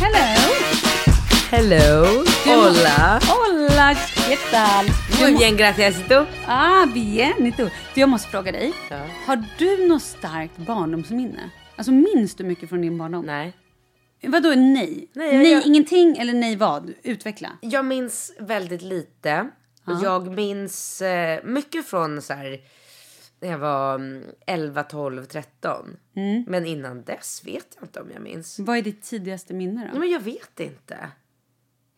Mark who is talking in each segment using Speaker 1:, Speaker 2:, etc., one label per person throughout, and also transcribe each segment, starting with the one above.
Speaker 1: Hello!
Speaker 2: Hello, hola,
Speaker 1: Hola, ¿qué tal?
Speaker 2: muy bien, gracias. ¿Y tú?
Speaker 1: Ah, bien. y tú? Du, jag måste fråga dig. Har du något starkt barndomsminne? Alltså minns du mycket från din barndom?
Speaker 2: Nej.
Speaker 1: Vadå nej?
Speaker 2: Nej, jag- jag-
Speaker 1: ingenting eller nej vad? Utveckla.
Speaker 2: Jag minns väldigt lite. Jag minns eh, mycket från så här, när jag var mm, 11, 12, 13. Men innan dess vet jag inte om jag minns.
Speaker 1: Vad är ditt tidigaste minne
Speaker 2: Nej,
Speaker 1: då?
Speaker 2: men jag vet inte.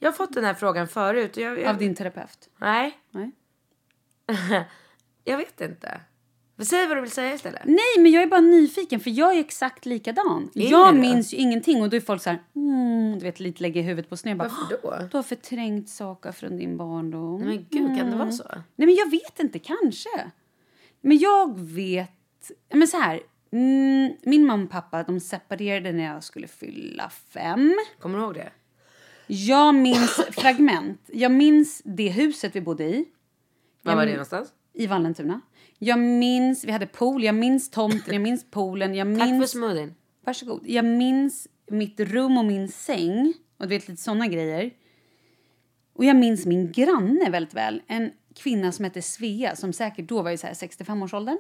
Speaker 2: Jag har fått den här frågan förut. och Jag, jag,
Speaker 1: Av din terapeut?
Speaker 2: Nej,
Speaker 1: Nej.
Speaker 2: jag vet inte. Säg vad du vill säga istället.
Speaker 1: Nej, men jag är bara nyfiken för jag är exakt likadan.
Speaker 2: Är
Speaker 1: jag
Speaker 2: det?
Speaker 1: minns ju ingenting och då är folk så här, mm, du vet lite lägger huvudet på sned. Jag Bara,
Speaker 2: Varför då?
Speaker 1: Du har förträngt saker från din barndom.
Speaker 2: Men gud, kan det vara så?
Speaker 1: Nej, men jag vet inte. Kanske. Men jag vet... Men så här. Mm, min mamma och pappa de separerade när jag skulle fylla fem.
Speaker 2: Kommer du ihåg det?
Speaker 1: Jag minns fragment. Jag minns det huset vi bodde i,
Speaker 2: Var var det någonstans?
Speaker 1: i Vallentuna. Jag minns... Vi hade pool. Jag minns tomten, jag minns poolen. Jag minns,
Speaker 2: Tack för smoothien.
Speaker 1: Varsågod. Jag minns mitt rum och min säng. Och du vet, lite såna grejer. Och jag minns min granne väldigt väl. En kvinna som hette Svea, som säkert då var i så här 65-årsåldern.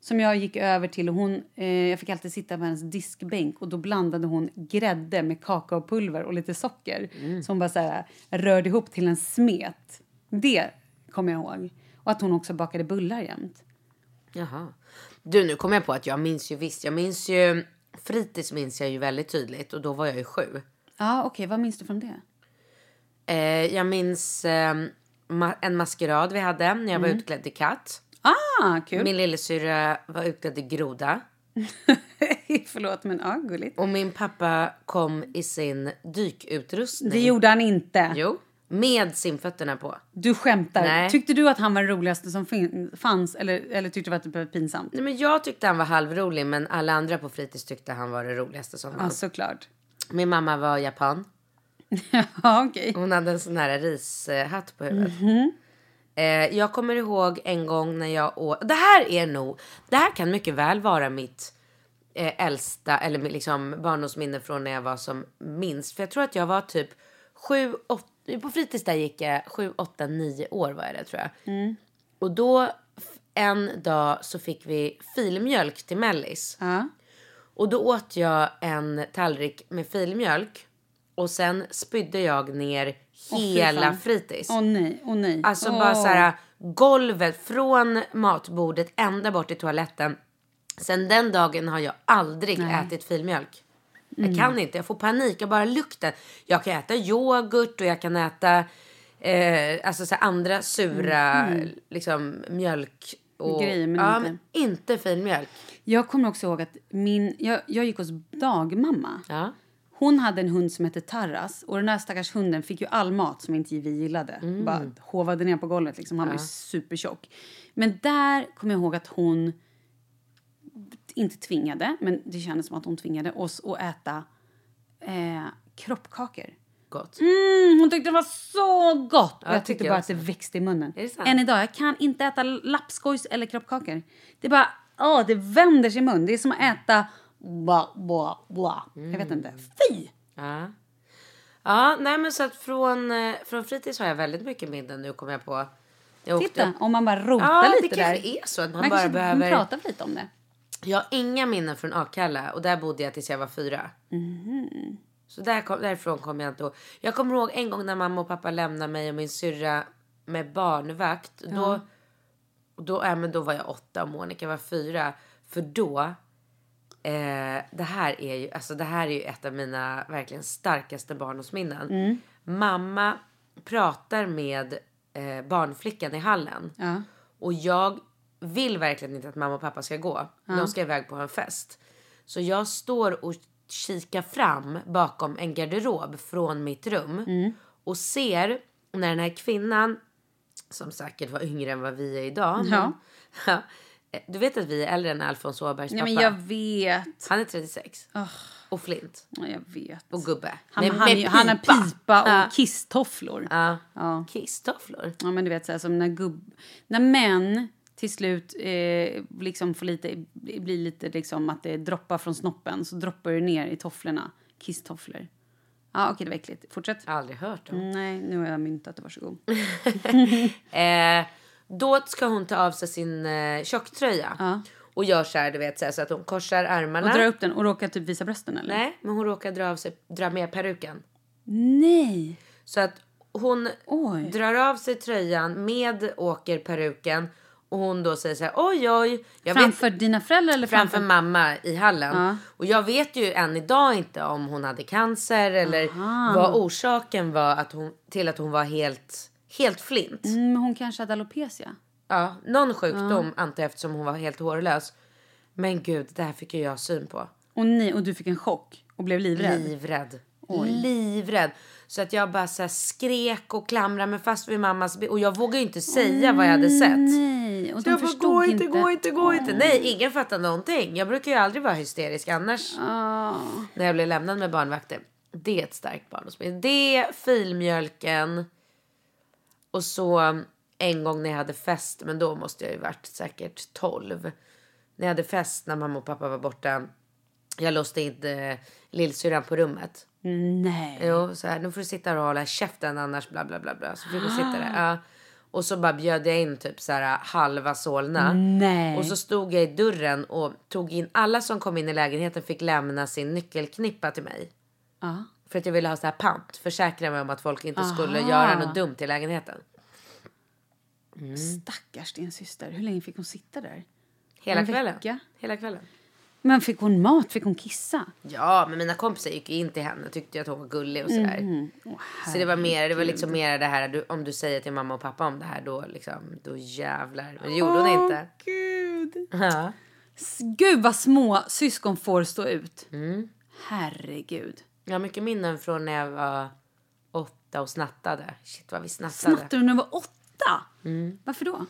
Speaker 1: Som jag gick över till och hon, eh, jag fick alltid sitta på hennes diskbänk och då blandade hon grädde med kakaopulver och lite socker. Som bara så här, rörde ihop till en smet. Det kommer jag ihåg. Och att hon också bakade bullar jämt.
Speaker 2: Jaha. Du, nu kom jag på att jag minns ju visst. Jag minns ju... Fritids minns jag ju väldigt tydligt och då var jag ju sju.
Speaker 1: Ja, Ah, okej, vad minns du från det?
Speaker 2: Eh, jag minns eh, ma- en maskerad vi hade när jag var utklädd till katt.
Speaker 1: Ah, Mm. kul!
Speaker 2: Min lillasyrra var utklädd till groda.
Speaker 1: Förlåt, men ja, gulligt.
Speaker 2: Och min pappa kom i sin dykutrustning.
Speaker 1: Det gjorde han inte.
Speaker 2: Mm. Jo. Med simfötterna på.
Speaker 1: Du skämtar.
Speaker 2: Nej.
Speaker 1: Tyckte du att han var den roligaste som fin- fanns eller, eller tyckte du att det var pinsamt?
Speaker 2: Nej, men jag tyckte han var halvrolig men alla andra på fritids tyckte han var det roligaste som
Speaker 1: Ja,
Speaker 2: fanns.
Speaker 1: såklart.
Speaker 2: Min mamma var japan.
Speaker 1: ja, okej.
Speaker 2: Hon hade en sån här rishatt på huvudet. Eh, jag kommer ihåg en gång när jag åt... Det här är nog... Det här kan mycket väl vara mitt eh, äldsta eller mitt, liksom barndomsminne från när jag var som minst. För jag tror att jag var typ sju, åtta... På fritids där gick jag sju, åtta, nio år var jag där tror jag. Och då f- en dag så fick vi filmjölk till mellis.
Speaker 1: Ja.
Speaker 2: Och då åt jag en tallrik med filmjölk och sen spydde jag ner
Speaker 1: fy
Speaker 2: hela
Speaker 1: fan.
Speaker 2: fritids.
Speaker 1: Åh nej, åh nej.
Speaker 2: Alltså
Speaker 1: Åh.
Speaker 2: bara så här golvet från matbordet ända bort till toaletten. Sen den dagen har jag aldrig ätit filmjölk.
Speaker 1: Mm.
Speaker 2: Jag kan inte, jag får panik jag bara lukten. Jag kan äta yoghurt och jag kan äta eh, alltså så här andra sura Liksom, mjölk. Och,
Speaker 1: Mm. Grejer, men
Speaker 2: ja,
Speaker 1: inte-
Speaker 2: Men inte filmjölk.
Speaker 1: Jag kommer också ihåg att min, jag, jag gick hos dagmamma.
Speaker 2: Ja.
Speaker 1: Hon hade en hund som hette Tarras och den här stackars hunden fick ju all mat som inte vi gillade.
Speaker 2: Mm.
Speaker 1: Bara hovade ner på golvet liksom. Han var ju supertjock. Men där kommer jag ihåg att hon inte tvingade, men det kändes som att hon tvingade oss att äta eh, kroppkakor.
Speaker 2: Gott.
Speaker 1: Mm, hon tyckte det var så gott! och jag tyckte
Speaker 2: tycker jag
Speaker 1: bara att det växte i munnen.
Speaker 2: Är det sant?
Speaker 1: Än idag, jag kan inte äta lappskojs eller kroppkakor. Det är bara, åh, det vänder sig i mun. Det är som att äta bla, bla, bla. Jag
Speaker 2: Mm.
Speaker 1: vet inte. Fy!
Speaker 2: Ja. Ja, nej men så att från, eh, från fritids har jag väldigt mycket minnen nu kommer jag på. Jag åkte
Speaker 1: Titta,
Speaker 2: upp-
Speaker 1: om man bara rotar
Speaker 2: Ja, det
Speaker 1: lite
Speaker 2: kanske
Speaker 1: där.
Speaker 2: är så att man,
Speaker 1: Man
Speaker 2: bara
Speaker 1: kanske
Speaker 2: behöver.
Speaker 1: pratar för lite om det.
Speaker 2: Jag har inga minnen från Akalla och där bodde jag tills jag var fyra. Så där kom, därifrån kom jag inte ihåg. Jag kommer ihåg en gång när mamma och pappa lämnade mig och min syrra med barnvakt. Då, då, äh, men då var jag åtta och Monica var fyra. För då, eh, det, här är ju, alltså det här är ju ett av mina verkligen starkaste barndomsminnen.
Speaker 1: Mm.
Speaker 2: Mamma pratar med eh, barnflickan i hallen.
Speaker 1: Ja.
Speaker 2: Och jag vill verkligen inte att mamma och pappa ska gå. De ska iväg på en fest. Så jag står och kikar fram bakom en garderob från mitt rum.
Speaker 1: Mm.
Speaker 2: Och ser när den här kvinnan, som säkert var yngre än vad vi är idag.
Speaker 1: Ja.
Speaker 2: men- du vet att vi är äldre än Alfons Åbergs
Speaker 1: Nej,
Speaker 2: pappa.
Speaker 1: men jag vet.
Speaker 2: Han är 36. Och flint.
Speaker 1: Ja, Jag vet.
Speaker 2: Och gubbe.
Speaker 1: Han,
Speaker 2: Med-
Speaker 1: han,
Speaker 2: med
Speaker 1: är ju- han har pipa och
Speaker 2: Ja.
Speaker 1: kisstofflor.
Speaker 2: Ja.
Speaker 1: Ja.
Speaker 2: Kisstofflor.
Speaker 1: Ja, men du vet, så här, som när, gubb... när män till slut eh, liksom får lite, blir lite liksom att det droppar från snoppen så droppar det ner i tofflorna. Kisstofflor. Ja, okej, det var äckligt. Fortsätt.
Speaker 2: Jag har aldrig hört dem.
Speaker 1: Nej, nu har jag myntat det. Varsågod. Mm.
Speaker 2: Eh, då ska hon ta av sig sin eh, tjocktröja. Och gör så här, du vet, så, här, så att hon korsar
Speaker 1: Och
Speaker 2: armarna.
Speaker 1: drar upp den och råkar typ visa brösten, eller?
Speaker 2: Nej, men hon råkar dra, av sig, dra med peruken.
Speaker 1: Nej.
Speaker 2: Så att hon
Speaker 1: Oj.
Speaker 2: drar av sig tröjan med åker peruken. Och hon då säger så här, oj oj. Jag vet,
Speaker 1: Framför dina föräldrar eller
Speaker 2: framför
Speaker 1: framför...
Speaker 2: mamma i hallen. Och jag vet ju än idag inte om hon hade cancer eller vad orsaken var att hon, till att hon var helt, helt flint.
Speaker 1: Mm, hon kanske hade alopecia.
Speaker 2: Ja, någon sjukdom antar jag eftersom hon var helt hårlös. Men gud, det här fick ju jag syn på.
Speaker 1: Och, ni, och du fick en chock och blev livrädd. Mm.
Speaker 2: Livrädd. Livrädd. Så att jag bara så här skrek och klamrade mig fast vid mammas ben. Och jag vågade ju inte säga vad jag hade sett.
Speaker 1: Mm, Nej, och
Speaker 2: Så
Speaker 1: de
Speaker 2: jag bara,
Speaker 1: förstod
Speaker 2: gå
Speaker 1: inte.
Speaker 2: inte, gå inte, gå inte. Nej, ingen fattar någonting. Jag brukar ju aldrig vara hysterisk annars.
Speaker 1: Ah.
Speaker 2: När jag blev lämnad med barnvakter. Det är ett starkt barndomsminne. Det, filmjölken. Och så um, en gång när jag hade fest, men då måste jag ju varit säkert 12. När jag hade fest när mamma och pappa var borta. Jag låste in eh, lillsyrran på rummet.
Speaker 1: Nej.
Speaker 2: Jo, så här, nu får du sitta här och hålla käften annars bla bla bla. bla. Så fick hon sitta där. Ja. Och så bara bjöd jag in typ så här halva Solna.
Speaker 1: Nej.
Speaker 2: Och så stod jag i dörren och tog in alla som kom in i lägenheten fick lämna sin nyckelknippa till mig.
Speaker 1: Ja.
Speaker 2: För att jag ville ha så här pant. Försäkra mig om att folk inte skulle
Speaker 1: Aha.
Speaker 2: göra något dumt i lägenheten.
Speaker 1: Stackars din syster. Hur länge fick hon sitta där?
Speaker 2: Hela
Speaker 1: En
Speaker 2: kvällen.
Speaker 1: vecka.
Speaker 2: Hela kvällen.
Speaker 1: Men fick hon mat? Fick hon kissa?
Speaker 2: Ja, men mina kompisar gick ju in till henne och tyckte ju att hon var gullig och sådär.
Speaker 1: Mhm. Åh,
Speaker 2: Så det var mer, det var liksom mer det här du, om du säger till mamma och pappa om det här då liksom, då jävlar. Men det gjorde hon
Speaker 1: Åh,
Speaker 2: inte.
Speaker 1: Gud.
Speaker 2: Ja.
Speaker 1: S- Gud vad små syskon får stå ut. Herregud.
Speaker 2: Jag har mycket minnen från när jag var åtta och snattade. Shit vad vi snattade.
Speaker 1: Snattade du när du var åtta? Varför då?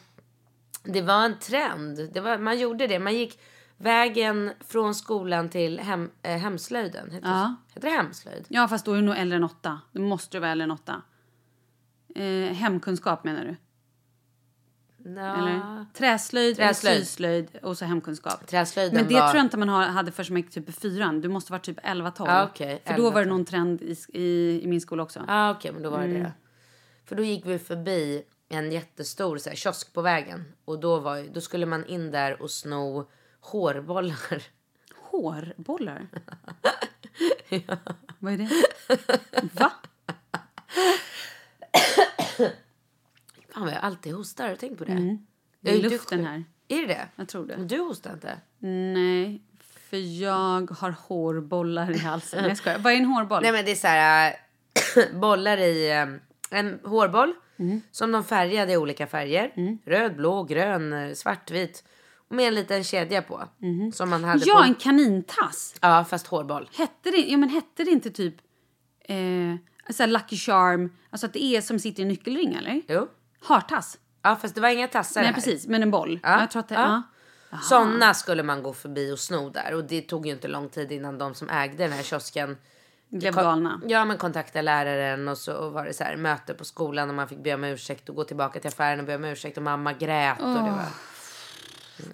Speaker 2: Det var en trend. Det var, man gjorde det. Man gick vägen från skolan till hem, eh, hemslöjden. Heter,
Speaker 1: Ja.
Speaker 2: heter det hemslöjd?
Speaker 1: Ja, fast då är du nog äldre än åtta. Då måste du vara äldre än åtta. Eh, hemkunskap menar du?
Speaker 2: Ja.
Speaker 1: Eller? Träslöjd,
Speaker 2: Träslöjd.
Speaker 1: Träslöjd. syslöjd och så hemkunskap.
Speaker 2: Träslöjden
Speaker 1: Men det
Speaker 2: var...
Speaker 1: tror jag inte man har, hade för så mycket typ i fyran. Du måste vara typ 11-12.
Speaker 2: Ja, Ah, okej.
Speaker 1: För då var det
Speaker 2: 11-12.
Speaker 1: någon trend i, i, i min skola också.
Speaker 2: Ja, ah, okej, men då var det
Speaker 1: Mm.
Speaker 2: det. För då gick vi förbi en jättestor så här, kiosk på vägen. Och då, var, ju- då skulle man in där och sno hårbollar.
Speaker 1: Hårbollar? Vad är det? Va?
Speaker 2: Fan vad jag alltid hostar, har du tänkt på det?
Speaker 1: Det
Speaker 2: Jag
Speaker 1: är
Speaker 2: ju
Speaker 1: Mm. luften
Speaker 2: sjuk.
Speaker 1: här.
Speaker 2: Är det det?
Speaker 1: Jag tror
Speaker 2: Men
Speaker 1: det.
Speaker 2: du hostar inte?
Speaker 1: Nej, för jag har hårbollar i halsen. Nej, jag skojar. Vad är en hårboll?
Speaker 2: Nej men det är så här äh, bollar i äh, en hårboll
Speaker 1: Mm.
Speaker 2: som de färgade i olika färger. Röd, blå, grön, äh, svartvit. Och med en liten kedja på. Som man hade
Speaker 1: Mm-hmm. ja,
Speaker 2: på.
Speaker 1: en kanintass!
Speaker 2: Ja, fast hårboll.
Speaker 1: Hette det, ja, men hette det inte typ eh, alltså Lucky Charm? Alltså att det är som sitter i en nyckelring, eller?
Speaker 2: Jo.
Speaker 1: Hartass?
Speaker 2: Ja, fast det var inga tassar
Speaker 1: Nej,
Speaker 2: här.
Speaker 1: precis. Men en boll.
Speaker 2: Ja,
Speaker 1: Jag tror att det,
Speaker 2: ja.
Speaker 1: ja.
Speaker 2: Sådana skulle man gå förbi och sno där. Och det tog ju inte lång tid innan de som ägde den här kiosken
Speaker 1: Blev
Speaker 2: kon-
Speaker 1: galna.
Speaker 2: Ja, men kontaktade läraren och så var det så här möte på skolan och man fick be om ursäkt och gå tillbaka till affären och be om ursäkt och mamma grät och det var.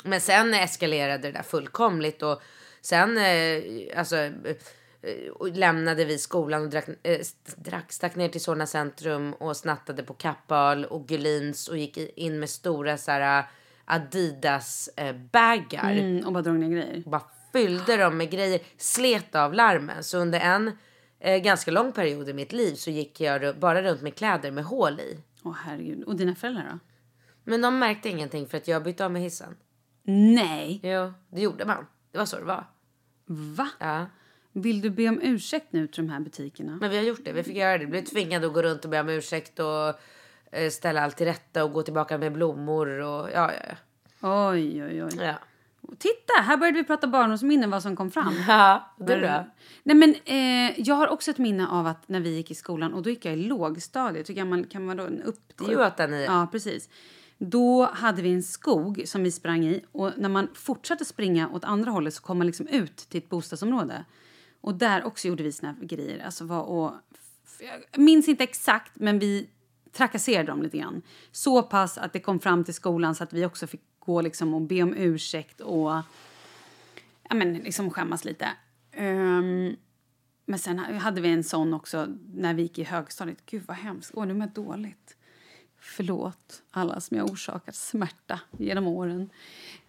Speaker 2: Men sen eskalerade det där fullkomligt och sen eh, alltså eh, och lämnade vi skolan och drack, eh, st- drack stack ner till Solna centrum och snattade på Kappahl och Gullins och gick i- in med stora så här Adidas eh, bagar
Speaker 1: Mm, och bara drog ner grejer.
Speaker 2: bara fyllde dem med grejer, slet av larmen. Så under en eh, ganska lång period i mitt liv så gick jag ru- bara runt med kläder med hål i.
Speaker 1: Åh, herregud. Och dina föräldrar då?
Speaker 2: Men de märkte ingenting för att jag bytte av med hissen.
Speaker 1: Nej!
Speaker 2: Jo, det gjorde man. Det var så det var.
Speaker 1: Va?
Speaker 2: Ja.
Speaker 1: Vill du be om ursäkt nu till de här butikerna?
Speaker 2: Men vi har gjort det. Vi fick göra det. Vi blev tvingade att gå runt och be om ursäkt och eh, ställa allt till rätta och gå tillbaka med blommor och ja, ja,
Speaker 1: Oj, oj, oj.
Speaker 2: ja. ja.
Speaker 1: Titta, här började vi prata barndomsminnen, vad som kom fram.
Speaker 2: Ja, det är bra.
Speaker 1: Nej, men, eh, jag har också ett minne av att när vi gick i skolan, och då gick jag i lågstadiet, hur gammal kan man då? En upp,
Speaker 2: Sju, åtta, nio.
Speaker 1: Ja, precis. Då hade vi en skog som vi sprang i och när man fortsatte springa åt andra hållet så kom man liksom ut till ett bostadsområde. Och där också gjorde vi såna här grejer. Alltså var och, f- jag minns inte exakt, men vi trakasserade dem lite grann. Så pass att det kom fram till skolan så att vi också fick gå liksom och be om ursäkt och ja, men liksom skämmas lite. Ehm, men sen hade vi en sån också när vi gick i högstadiet. Gud vad hemskt. Åh, nu mår jag dåligt. Förlåt alla som jag orsakat smärta genom åren.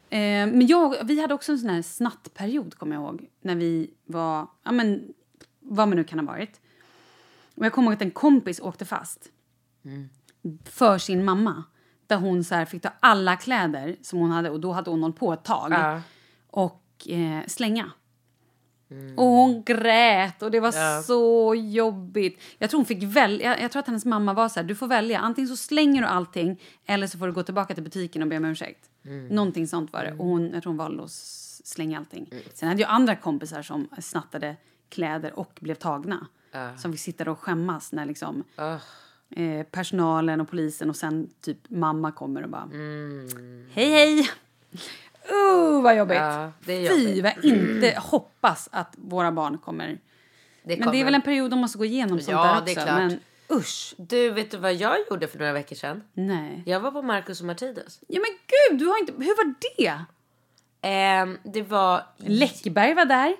Speaker 1: Ehm, men jag, vi hade också en sån här snattperiod kommer jag ihåg. När vi var, ja men vad man nu kan ha varit. Och jag kommer ihåg att en kompis åkte fast. För sin mamma. Där hon så här fick ta alla kläder som hon hade och då hade hon hållit på ett tag.
Speaker 2: Ja.
Speaker 1: Och eh, slänga. Och hon grät och det var
Speaker 2: Mm. Ja.
Speaker 1: så jobbigt. Jag tror, hon fick väl, jag, jag tror att hennes mamma var så här, du får välja. Antingen så slänger du allting eller så får du gå tillbaka till butiken och be om ursäkt.
Speaker 2: Mm.
Speaker 1: Någonting sånt var det. Och hon, jag tror hon valde att s- slänga allting. Sen hade jag andra kompisar som snattade kläder och blev tagna. Som fick sitta där och skämmas när liksom,
Speaker 2: Ah.
Speaker 1: eh, personalen och polisen och sen typ mamma kommer och bara hej hej. Uh, vad jobbigt.
Speaker 2: Mm. Ja, det är
Speaker 1: Fy, vad jag inte hoppas att våra barn kommer...
Speaker 2: Det
Speaker 1: Men det är väl en period de måste gå igenom sånt
Speaker 2: Ja,
Speaker 1: där också.
Speaker 2: det är klart.
Speaker 1: Men usch,
Speaker 2: Du, vet du vad jag gjorde för några veckor sedan?
Speaker 1: nej.
Speaker 2: Jag var på Marcus och Martinus.
Speaker 1: Ja men gud, du har inte... Hur var det?
Speaker 2: Ehm, det var...
Speaker 1: Läckberg var där.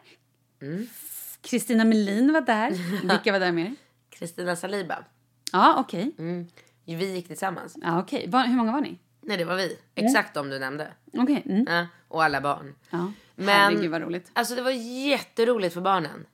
Speaker 1: Mm. Kristina Melin var där. Vilka var där mer?
Speaker 2: Kristina Saliba.
Speaker 1: Ja, okej.
Speaker 2: Mm. Vi gick tillsammans.
Speaker 1: Ja, okej. Var- Hur många var ni?
Speaker 2: Nej, det var vi. Exakt de du nämnde.
Speaker 1: Okej. Mm.
Speaker 2: Ja, och alla barn.
Speaker 1: Ja.
Speaker 2: Men-
Speaker 1: Herregud vad roligt.
Speaker 2: Alltså det var jätteroligt för barnen.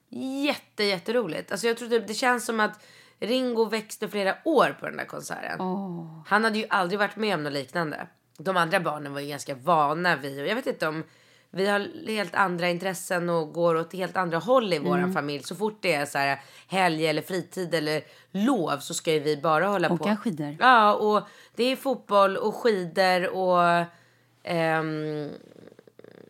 Speaker 2: Jätte, jätteroligt. Alltså jag tror typ, det känns som att Ringo växte flera år på den där konserten.
Speaker 1: Åh.
Speaker 2: Han hade ju aldrig varit med om något liknande. De andra barnen var ju ganska vana vid, och jag vet inte om vi har helt andra intressen och går åt helt andra håll i
Speaker 1: Mm.
Speaker 2: vår familj. Så fort det är så här helg eller fritid eller lov så ska ju vi bara hålla på.
Speaker 1: Åka skidor.
Speaker 2: Ja, och det är fotboll och skidor och... ehm,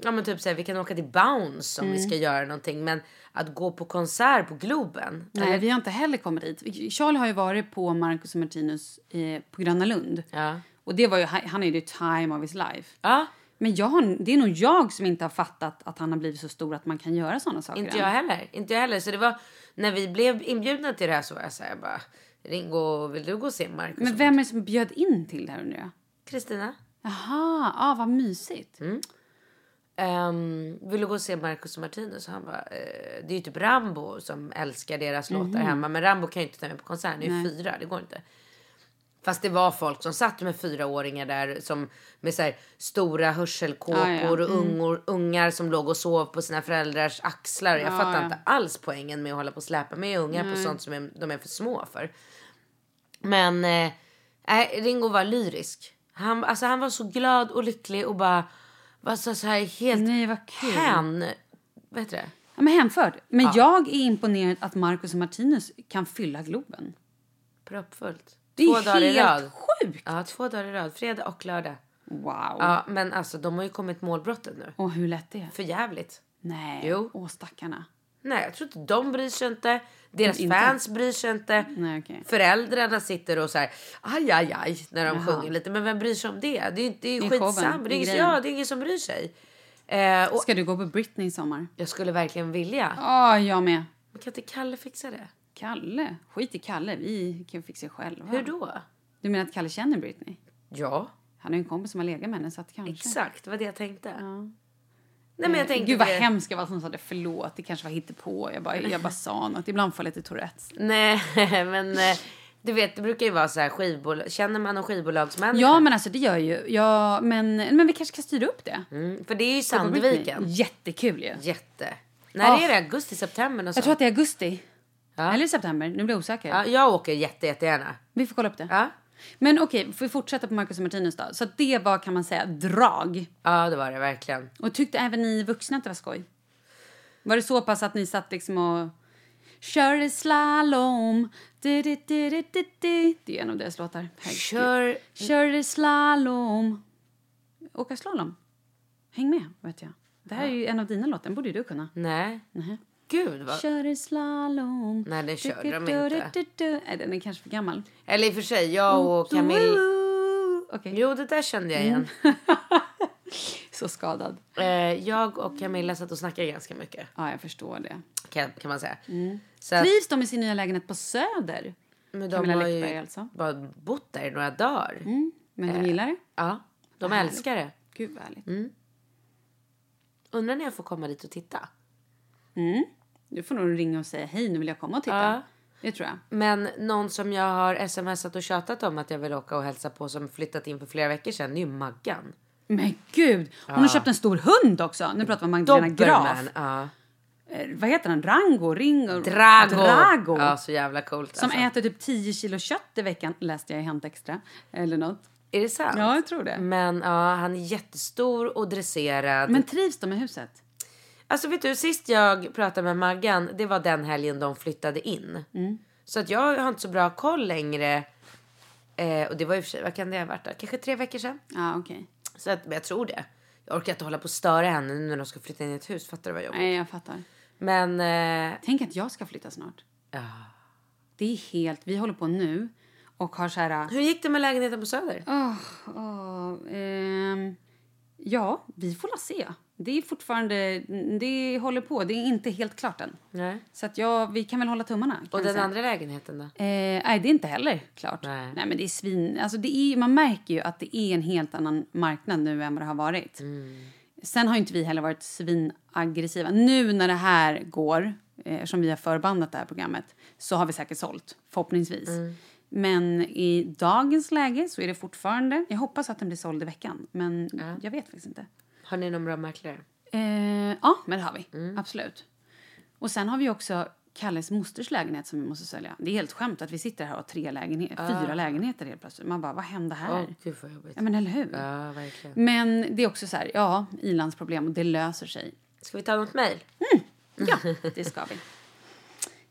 Speaker 2: ja, men typ så här, vi kan åka till Bounce om vi
Speaker 1: Mm.
Speaker 2: ska göra någonting. Men att gå på konsert på Globen.
Speaker 1: Nej, vi har inte heller kommit dit. Charlie har ju varit på Marcus och Martinus eh, på Gröna Lund.
Speaker 2: Ja.
Speaker 1: Och det var ju, han är ju the time of his life.
Speaker 2: Ja,
Speaker 1: Men jag har, det är nog jag som inte har fattat att han har blivit så stor att man kan göra sådana saker
Speaker 2: inte
Speaker 1: än.
Speaker 2: jag heller. Inte jag heller. Så det var när vi blev inbjudna till det här så var jag så här bara. Ringo, vill du gå och se Marcus?
Speaker 1: Men vem är det som bjöd in till det här undrar jag?
Speaker 2: Kristina?
Speaker 1: Jaha, ah, vad mysigt.
Speaker 2: Mm. ehm, vill du gå och se Marcus och Martinus? Och han bara, eh, det är ju typ Rambo som älskar deras
Speaker 1: Mhm.
Speaker 2: låtar hemma. Men Rambo kan ju inte ta med på konsert. Han är ju fyra, det går inte. Fast det var folk som satt med fyraåringar där som, med så här, stora hörselkåpor
Speaker 1: Ah, Ja, Mm. ja.
Speaker 2: och ungor, ungar som låg och sov på sina föräldrars axlar.
Speaker 1: Ah,
Speaker 2: Jag fattar inte alls poängen med att hålla på och släpa med ungar på sånt som är, de är för små för. Men eh, nej, Ringo var lyrisk. Han, alltså, han var så glad och lycklig och bara var så, så här helt
Speaker 1: Nej, vad kul.
Speaker 2: hän... Vad heter det?
Speaker 1: Ja, men hänförd. Men jag är imponerad att Marcus och Martinus kan fylla Globen.
Speaker 2: Proppfullt.
Speaker 1: Det är
Speaker 2: två dagar i rad.
Speaker 1: helt sjukt! Mm.
Speaker 2: Ja, två dagar i rad. Fredag och lördag.
Speaker 1: Wow.
Speaker 2: Ja, men alltså de har ju kommit målbrottet nu.
Speaker 1: Och hur lätt det är.
Speaker 2: För jävligt.
Speaker 1: Nej,
Speaker 2: Jo.
Speaker 1: åh stackarna.
Speaker 2: Nej, jag tror inte de bryr sig inte. Deras
Speaker 1: Inte.
Speaker 2: fans bryr sig inte.
Speaker 1: Nej, okej.
Speaker 2: Föräldrarna sitter och så här, aj, aj, aj, när de sjunger lite. Men vem bryr sig om det? Det är, ju- det är ju
Speaker 1: Det är showen,
Speaker 2: skitsamma.
Speaker 1: det är
Speaker 2: Det, är ingen-
Speaker 1: grejen.
Speaker 2: ja, det är ingen som bryr sig. Eh, och
Speaker 1: Ska du gå på Britney i sommar?
Speaker 2: jag skulle verkligen vilja.
Speaker 1: Ja, jag med.
Speaker 2: Men kan inte Kalle fixa det?
Speaker 1: Kalle? Skit i Kalle, vi kan fixa det själva.
Speaker 2: Hur då?
Speaker 1: Du menar att Kalle känner Britney?
Speaker 2: Ja,
Speaker 1: Han har ju en kompis som har legat med henne så att kanske.
Speaker 2: exakt. Det var det jag tänkte. Nej, men jag tänkte
Speaker 1: Eh, Gud vad
Speaker 2: det.
Speaker 1: hemskt jag var som sa det, förlåt, det kanske var hittepå. Jag bara, jag bara sa något. Ibland får jag lite Tourettes.
Speaker 2: Nej, men eh, du vet, det brukar ju vara så här skivbolag. Känner man någon skivbolagsmänniska?
Speaker 1: Ja, men alltså det gör ju. Ja, men, men vi kanske kan styra upp det.
Speaker 2: Mm, för det är ju
Speaker 1: Gå på Britney.
Speaker 2: Sandviken.
Speaker 1: Jättekul ju.
Speaker 2: Jätte. När
Speaker 1: Ah.
Speaker 2: är det? Augusti, september? något
Speaker 1: Jag tror
Speaker 2: sånt.
Speaker 1: att det är augusti.
Speaker 2: Ja.
Speaker 1: Eller september, nu blir jag osäker.
Speaker 2: Ja, jag åker jätte, jättegärna.
Speaker 1: Vi får kolla upp det.
Speaker 2: Ja.
Speaker 1: Men okej, får vi fortsätta på Marcus och Martinus då? Så att det var, kan man säga, drag.
Speaker 2: Ja, det var det verkligen.
Speaker 1: Och tyckte även ni vuxna att det var skoj? Var det så pass att ni satt liksom och körde slalom? Du, du, du, du, du, du. Det är en av deras låtar. Herregud.
Speaker 2: Kör...
Speaker 1: Körde slalom. Åka slalom. Häng med, vet jag. Det här är ju en av dina låtar, den borde ju du kunna.
Speaker 2: Nej.
Speaker 1: Nähä.
Speaker 2: Gud vad...
Speaker 1: Körde slalom.
Speaker 2: Nej, det körde
Speaker 1: Du,
Speaker 2: de
Speaker 1: du, du,
Speaker 2: inte.
Speaker 1: du, du. Nej, den är kanske för gammal.
Speaker 2: Eller i och för sig, jag och Camille...
Speaker 1: Okej.
Speaker 2: Jo, det där kände jag
Speaker 1: Mm.
Speaker 2: igen.
Speaker 1: Så skadad.
Speaker 2: Eh, jag och Camilla satt och snackade ganska mycket,
Speaker 1: Ja, jag förstår det.
Speaker 2: kan, kan man säga.
Speaker 1: Mm.
Speaker 2: Så att,
Speaker 1: Trivs de i sin nya lägenhet på Söder?
Speaker 2: men de
Speaker 1: Camilla
Speaker 2: har
Speaker 1: Läckberg,
Speaker 2: ju
Speaker 1: alltså.
Speaker 2: bara bott där i några dagar.
Speaker 1: Mm. Men
Speaker 2: Eh.
Speaker 1: de gillar det? Mm.
Speaker 2: Ja, de älskar det.
Speaker 1: Gud vad härligt.
Speaker 2: Undrar när jag får komma dit och titta.
Speaker 1: Du får nog ringa och säga hej, nu vill jag komma och titta.
Speaker 2: Ja.
Speaker 1: Det tror jag.
Speaker 2: Men någon som jag har smsat och tjatat om att jag vill åka och hälsa på som flyttat in för flera veckor sedan, det är ju Maggan.
Speaker 1: Men gud! Hon har köpt en stor hund också. Nu pratar vi om Magdalena Graaf.
Speaker 2: Doberman, ja.
Speaker 1: Eh, Vad heter han? Rango? Ringo?
Speaker 2: Drago.
Speaker 1: Drago.
Speaker 2: Ja, så jävla coolt.
Speaker 1: Som
Speaker 2: alltså.
Speaker 1: äter typ 10 kilo kött i veckan, läste jag i Hänt Extra. Eller något.
Speaker 2: Är det sant?
Speaker 1: Ja, jag tror det.
Speaker 2: Men ja, han är jättestor och dresserad.
Speaker 1: Men trivs de i huset?
Speaker 2: Alltså vet du, sist jag pratade med Maggan, det var den helgen de flyttade in.
Speaker 1: Mm.
Speaker 2: Så att jag har inte så bra koll längre. Eh, och det var i och för sig, vad kan det ha varit då? Kanske tre veckor sedan.
Speaker 1: Ja, okej.
Speaker 2: Så att, men jag tror det. Jag orkar inte hålla på och störa henne nu när de ska flytta in i ett hus. Fattar du vad jag
Speaker 1: Nej, jag fattar.
Speaker 2: Men eh,
Speaker 1: Tänk att jag ska flytta snart.
Speaker 2: Ja.
Speaker 1: Det är helt... Vi håller på nu och har så här...
Speaker 2: hur gick det med lägenheten på Söder?
Speaker 1: Åh, åh, Ah, ehm, ja, vi får la se. Det är fortfarande... Det håller på. Det är inte helt klart än.
Speaker 2: Nej.
Speaker 1: Så att jag, vi kan väl hålla tummarna. Kan
Speaker 2: Och
Speaker 1: vi
Speaker 2: den
Speaker 1: säga.
Speaker 2: andra lägenheten då?
Speaker 1: Eh, nej, det är inte heller klart.
Speaker 2: Nej.
Speaker 1: men det är svin... Alltså det är, man märker ju att det är en helt annan marknad nu än vad det har varit.
Speaker 2: Mm.
Speaker 1: Sen har ju inte vi heller varit svinaggressiva. Nu när det här
Speaker 2: Mm.
Speaker 1: går, eh, som vi har förbandat det här programmet, så har vi säkert sålt, förhoppningsvis. Men i dagens läge så är det fortfarande... Jag hoppas att den blir såld i veckan, men
Speaker 2: Ja.
Speaker 1: jag vet faktiskt inte.
Speaker 2: Har ni någon bra mäklare?
Speaker 1: Eh, ja, men det har vi.
Speaker 2: Mm.
Speaker 1: Absolut. Och sen har vi också Kalles mosters lägenhet som vi måste sälja. Det är helt skämt att vi sitter här och har tre lägenhet, fyra lägenheter helt plötsligt. Man bara, vad hände
Speaker 2: Ah. Åh,
Speaker 1: här?
Speaker 2: gud vad jobbigt.
Speaker 1: Ja, men eller hur?
Speaker 2: Ja, verkligen.
Speaker 1: Men det är också så här, ja, ilandsproblem och det löser sig.
Speaker 2: Ska vi ta något mejl?
Speaker 1: Ja, det ska vi.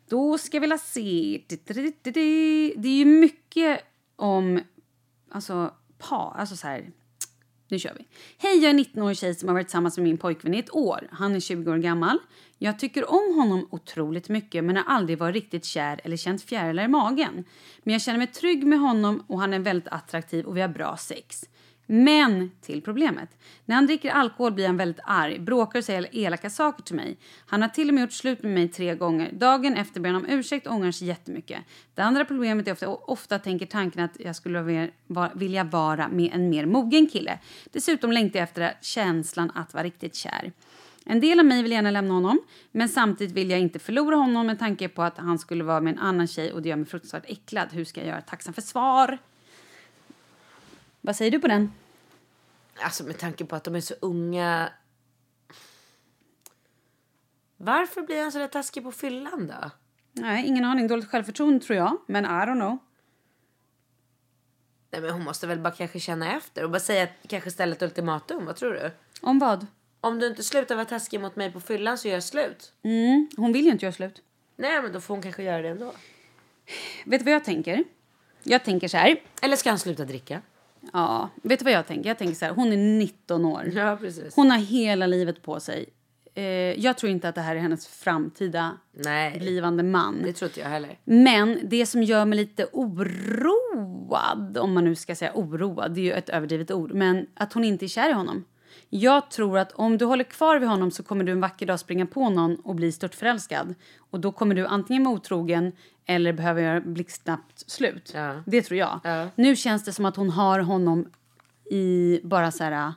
Speaker 1: Då ska vi la se. Det är ju mycket om alltså, par. Alltså så här. Nu kör vi. Hej, jag är en 19-årig tjej som har varit tillsammans med min pojkvän i ett år. Han är 20 år gammal. Jag tycker om honom otroligt mycket men har aldrig varit riktigt kär eller känt fjärilar i magen. Men jag känner mig trygg med honom och han är väldigt attraktiv och vi har bra sex. Men till problemet. När han dricker alkohol blir han väldigt arg, bråkar och säger elaka saker till mig. Han har till och med gjort slut med mig tre gånger. Dagen efter ber han om ursäkt och ångrar sig jättemycket. Det andra problemet är ofta, ofta tänker tanken att jag skulle vara- vara- vilja vara med en mer mogen kille. Dessutom längtar jag efter känslan att vara riktigt kär. En del av mig vill gärna lämna honom, men samtidigt vill jag inte förlora honom med tanke på att han skulle vara med en annan tjej och det gör mig fruktansvärt äcklad. Hur ska jag göra? Tacksam för svar! Vad säger du på den?
Speaker 2: Alltså med tanke på att de är så unga. Varför blir han så där taskig på fyllan då?
Speaker 1: Nej, ingen aning. Dåligt självförtroende tror jag. Men I don't know.
Speaker 2: Nej men hon måste väl bara kanske känna efter och bara säga att kanske ställa ett ultimatum. Vad tror du?
Speaker 1: Om vad?
Speaker 2: Om du inte slutar vara taskig mot mig på fyllan så gör jag slut.
Speaker 1: Mm, hon vill ju inte göra slut.
Speaker 2: Nej men då får hon kanske göra det ändå.
Speaker 1: Vet du vad jag tänker? Jag tänker så här.
Speaker 2: Eller ska han sluta dricka?
Speaker 1: Ja, vet du vad jag tänker? Jag tänker så här. Hon är 19 år.
Speaker 2: Ja precis.
Speaker 1: Hon har hela livet på sig. Eh, jag tror inte att det här är hennes framtida
Speaker 2: Nej.
Speaker 1: blivande man.
Speaker 2: Det tror inte jag heller.
Speaker 1: Men det som gör mig lite oroad, om man nu ska säga oroad, det är ju ett överdrivet ord, men att hon inte är kär i honom. Jag tror att om du håller kvar vid honom så kommer du en vacker dag springa på någon och bli störtförälskad. Och då kommer du antingen vara otrogen eller behöva göra blixtsnabbt slut.
Speaker 2: Ja.
Speaker 1: Det tror jag.
Speaker 2: Ja.
Speaker 1: Nu känns det som att hon har honom i bara så här...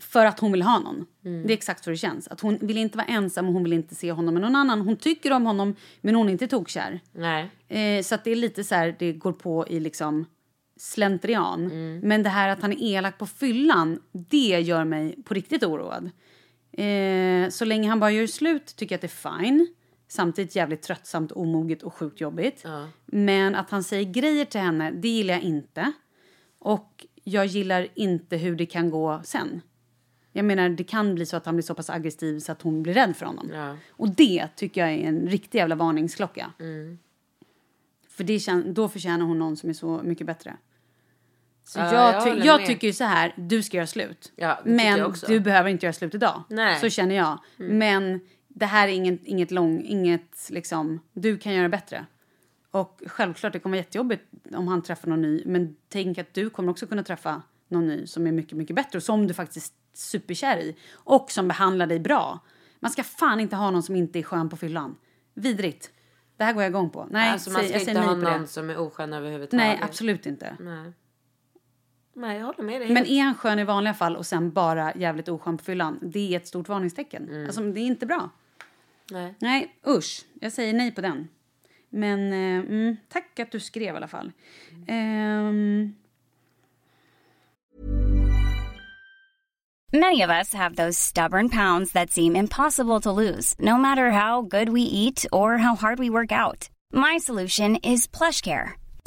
Speaker 1: För att hon vill ha någon. Det är exakt så det känns. Att hon vill inte vara ensam och hon vill inte se honom med någon annan. Hon tycker om honom men hon är inte tokkär.
Speaker 2: Nej.
Speaker 1: Eh, så att det är lite så här, det går på i liksom slentrian.
Speaker 2: Mm.
Speaker 1: Men det här att han är elak på fyllan, det gör mig på riktigt oroad. Eh, så länge han bara gör slut tycker jag att det är fine. Samtidigt jävligt tröttsamt, omoget och sjukt jobbigt.
Speaker 2: Ja.
Speaker 1: Men att han säger grejer till henne, det gillar jag inte. Och jag gillar inte hur det kan gå sen. Jag menar, det kan bli så att han blir så pass aggressiv så att hon blir rädd för honom.
Speaker 2: Ja. Mm.
Speaker 1: Och det tycker jag är en riktig jävla varningsklocka. För det kän- då förtjänar hon någon som är så mycket bättre. Så
Speaker 2: Ja, jag
Speaker 1: jag, ty-
Speaker 2: håller
Speaker 1: jag,
Speaker 2: med.
Speaker 1: tycker ju så här, du ska göra slut.
Speaker 2: Ja, det tycker jag
Speaker 1: men
Speaker 2: också.
Speaker 1: du behöver inte göra slut idag.
Speaker 2: Nej. Mm.
Speaker 1: Så känner jag. Men det här är inget, inget lång, inget liksom, du kan göra bättre. Och självklart det kommer vara jättejobbigt om han träffar någon ny. Men tänk att du kommer också kunna träffa någon ny som är mycket, mycket bättre. Och som du faktiskt är superkär i. Och som behandlar dig bra. Man ska fan inte ha någon som inte är skön på fyllan. Vidrigt. Det här går jag igång på. Nej,
Speaker 2: alltså man
Speaker 1: säg,
Speaker 2: ska
Speaker 1: jag säger
Speaker 2: inte
Speaker 1: nej
Speaker 2: ha
Speaker 1: på
Speaker 2: någon
Speaker 1: det.
Speaker 2: som är oskön överhuvudtaget.
Speaker 1: Nej, absolut inte.
Speaker 2: Nej. Nej, jag håller med dig.
Speaker 1: Men är han skön i vanliga fall och sen bara jävligt oskön på fyllan, det är ett stort varningstecken.
Speaker 2: Mm.
Speaker 1: Alltså, det är inte bra.
Speaker 2: Nej.
Speaker 1: Nej, usch. Jag säger nej på den. Men eh, mm, tack att du skrev i alla fall.
Speaker 2: Mm.
Speaker 1: Ehm,
Speaker 3: Many of us have those stubborn pounds that seem impossible to lose, no matter how good we eat or how hard we work out. My solution is PlushCare.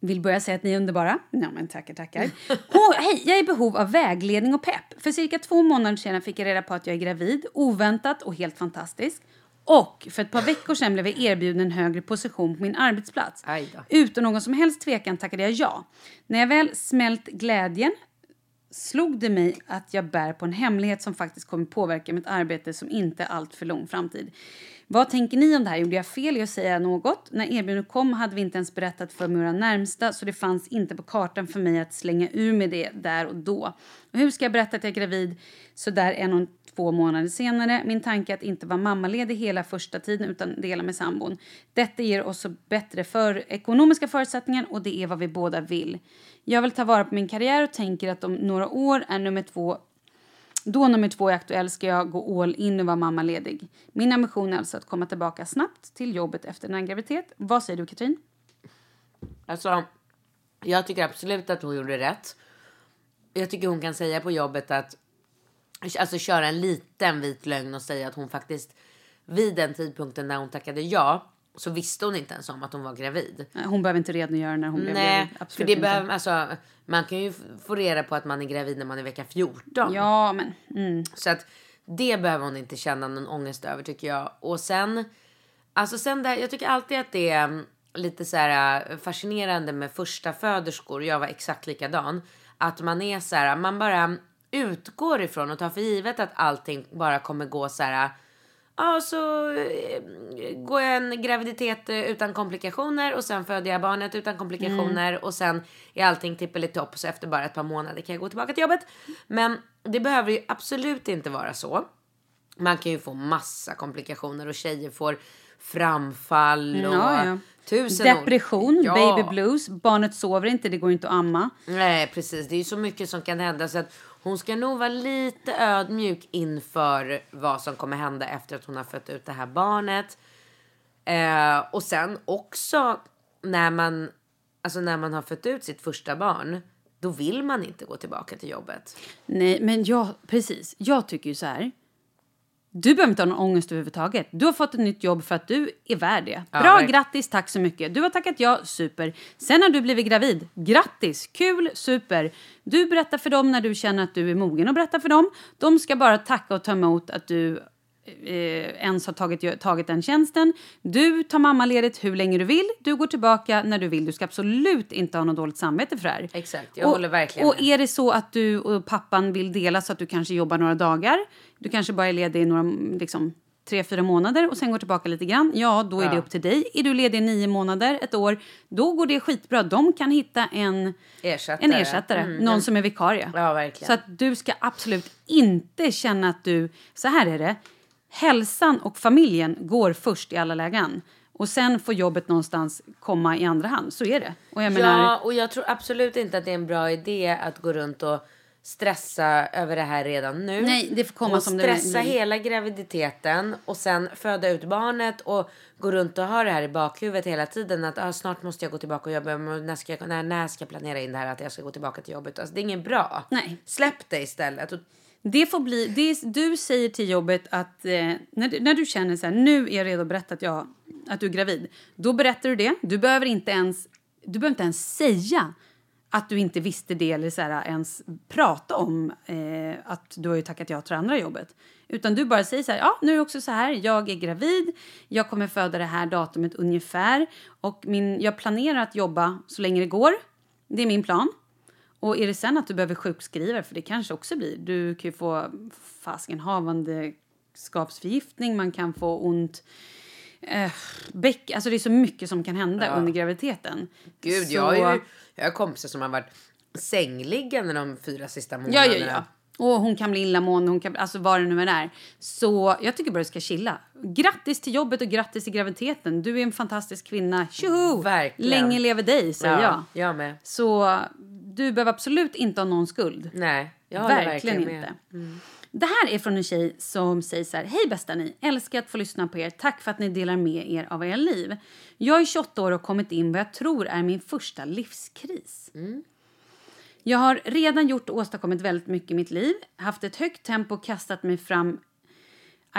Speaker 1: Vill börja säga att ni är underbara. Ja, men tackar,
Speaker 2: Mm.
Speaker 1: tackar. Åh, hej, jag är i behov av vägledning och pepp. För cirka två månader sedan fick jag reda på att jag är gravid, oväntat och helt fantastiskt. Och för ett par veckor sedan blev jag erbjuden en högre position på min arbetsplats.
Speaker 2: Aj då.
Speaker 1: Utan någon som helst tvekan tackade jag ja. När jag väl smält glädjen slog det mig att jag bär på en hemlighet som faktiskt kommer påverka mitt arbete som inte är allt för lång framtid. Vad tänker ni om det här? Gjorde jag fel i att säga något? När erbjudandet kom hade vi inte ens berättat för våra närmsta så det fanns inte på kartan för mig att slänga ur med det där och då. Och hur ska jag berätta att jag är gravid så där en och två månader senare? Min tanke är att inte vara mammaledig hela första tiden utan dela med sambon. Detta ger oss så bättre för ekonomiska förutsättningar och det är vad vi båda vill. Jag vill ta vara på min karriär och tänker att om några år är nummer två då nummer två är aktuell ska jag gå all in och vara mammaledig. Min ambition är alltså att komma tillbaka snabbt till jobbet efter en graviditet. Vad säger du Katrin?
Speaker 2: Alltså, jag tycker absolut att hon gjorde rätt. Jag tycker hon kan säga på jobbet att... Alltså köra en liten vit lögn och säga att hon faktiskt... Vid den tidpunkten när hon tackade ja så visste hon inte ens om att hon var gravid.
Speaker 1: Eh, Hon behöver inte redogöra när hon blev
Speaker 2: Nej,
Speaker 1: gravid.
Speaker 2: för
Speaker 1: Absolut
Speaker 2: det
Speaker 1: inte.
Speaker 2: behöver, alltså, man kan ju få reda på att man är gravid när man är vecka 14.
Speaker 1: Ja, men... Mm.
Speaker 2: Så att det behöver hon inte känna någon ångest över tycker jag. Och sen, alltså sen där, jag tycker alltid att det är mm, lite så här äh, fascinerande med första föderskor. Jag var exakt likadan. Att man är så här, man bara utgår ifrån och tar för givet att allting bara kommer gå så här. Ja, så eh, går jag en graviditet eh, utan komplikationer och sen föder jag barnet utan komplikationer
Speaker 1: Mm.
Speaker 2: och sen är allting tippelitopp så efter bara ett par månader kan jag gå tillbaka till jobbet. Men det behöver ju absolut inte vara så. Man kan ju få massa komplikationer och tjejer får framfall och
Speaker 1: Ja, ja.
Speaker 2: tusen ord-
Speaker 1: Depression,
Speaker 2: Ja.
Speaker 1: baby blues, barnet sover inte, det går inte att amma.
Speaker 2: Nej, precis. Det är ju så mycket som kan hända. Så att hon ska nog vara lite ödmjuk inför vad som kommer hända efter att hon har fött ut det här barnet. Eh, och sen också när man, alltså när man har fött ut sitt första barn. Då vill man inte gå tillbaka till jobbet.
Speaker 1: Nej, men jag, precis. Jag tycker ju så här. Du behöver inte ha någon ångest överhuvudtaget. Du har fått ett nytt jobb för att du är värd det. Bra,
Speaker 2: verkligen.
Speaker 1: grattis, tack så mycket. Du har tackat ja, super. Sen har du blivit gravid. Grattis, kul, super. Du berättar för dem när du känner att du är mogen att berätta för dem. De ska bara tacka och ta emot att du eh, ens har tagit, tagit den tjänsten. Du tar mammaledigt hur länge du vill. Du går tillbaka när du vill. Du ska absolut inte ha något dåligt samvete för det här.
Speaker 2: Exakt, jag håller verkligen
Speaker 1: Och
Speaker 2: med.
Speaker 1: är det så att du och pappan vill dela så att du kanske jobbar några dagar, du kanske bara är ledig i några, liksom, tre, fyra månader och sen går tillbaka lite grann, ja då är det upp till dig. Är du ledig i nio månader, ett år, då går det skitbra. De kan hitta en
Speaker 2: Ersättare.
Speaker 1: en ersättare
Speaker 2: Mm.
Speaker 1: någon som är vikarie.
Speaker 2: Ja, verkligen.
Speaker 1: Så att du ska absolut inte känna att du, så här är det, hälsan och familjen går först i alla lägen. Och sen får jobbet någonstans komma i andra hand, så är det. Och jag menar,
Speaker 2: Ja, och jag tror absolut inte att det är en bra idé att gå runt och stressa över det här redan nu.
Speaker 1: Nej, det får komma
Speaker 2: och
Speaker 1: som det
Speaker 2: stressa
Speaker 1: blir.
Speaker 2: hela graviditeten och sen föda ut barnet och gå runt och ha det här i bakhuvudet hela tiden att ah, snart måste jag gå tillbaka och jobba. Men När ska jag, när, när ska jag planera in det här att jag ska gå tillbaka till jobbet? Alltså, det är inget bra.
Speaker 1: Nej.
Speaker 2: Släpp det istället. Och,
Speaker 1: Det får bli, det, du säger till jobbet att eh, när, du- när du känner så här, nu är jag redo att berätta att, jag, att du är gravid. Då berättar du det. Du behöver inte ens, du behöver inte ens säga att du inte visste det eller så här, ens prata om eh, att du har ju tackat ja till det andra jobbet. Utan du bara säger så här, ja nu är det också så här, jag är gravid, jag kommer föda det här datumet ungefär och min, jag planerar att jobba så länge det går. Det är min plan. Och är det sen att du behöver sjukskriva för det kanske också blir. Du kan ju få fasken havandeskapsförgiftning, man kan få ont eh, bäck, alltså det är så mycket som kan hända under graviditeten.
Speaker 2: gud,
Speaker 1: så,
Speaker 2: jag har ju jag har kompisar som har varit sängliggande de fyra sista
Speaker 1: Ja,
Speaker 2: månaderna.
Speaker 1: ja, ja. Och hon kan bli illamående, hon kan, bli- alltså vad det nu än är. Så jag tycker bara du ska chilla. Grattis till jobbet och grattis till graviditeten. Du är en fantastisk kvinna. Tjoho!
Speaker 2: Verkligen.
Speaker 1: Länge leve dig, säger jag.
Speaker 2: Jag med.
Speaker 1: Så du behöver absolut inte ha någon skuld.
Speaker 2: Nej, jag håller
Speaker 1: verkligen,
Speaker 2: verkligen
Speaker 1: inte.
Speaker 2: med.
Speaker 1: Det här är från en tjej som säger så här. Hej bästa ni! Älskar att få lyssna på er. Tack för att ni delar med er av era liv. Jag är 28 år och kommit in vad jag tror är min första livskris. Jag har redan gjort och åstadkommit väldigt mycket i mitt liv. Haft ett högt tempo och kastat mig fram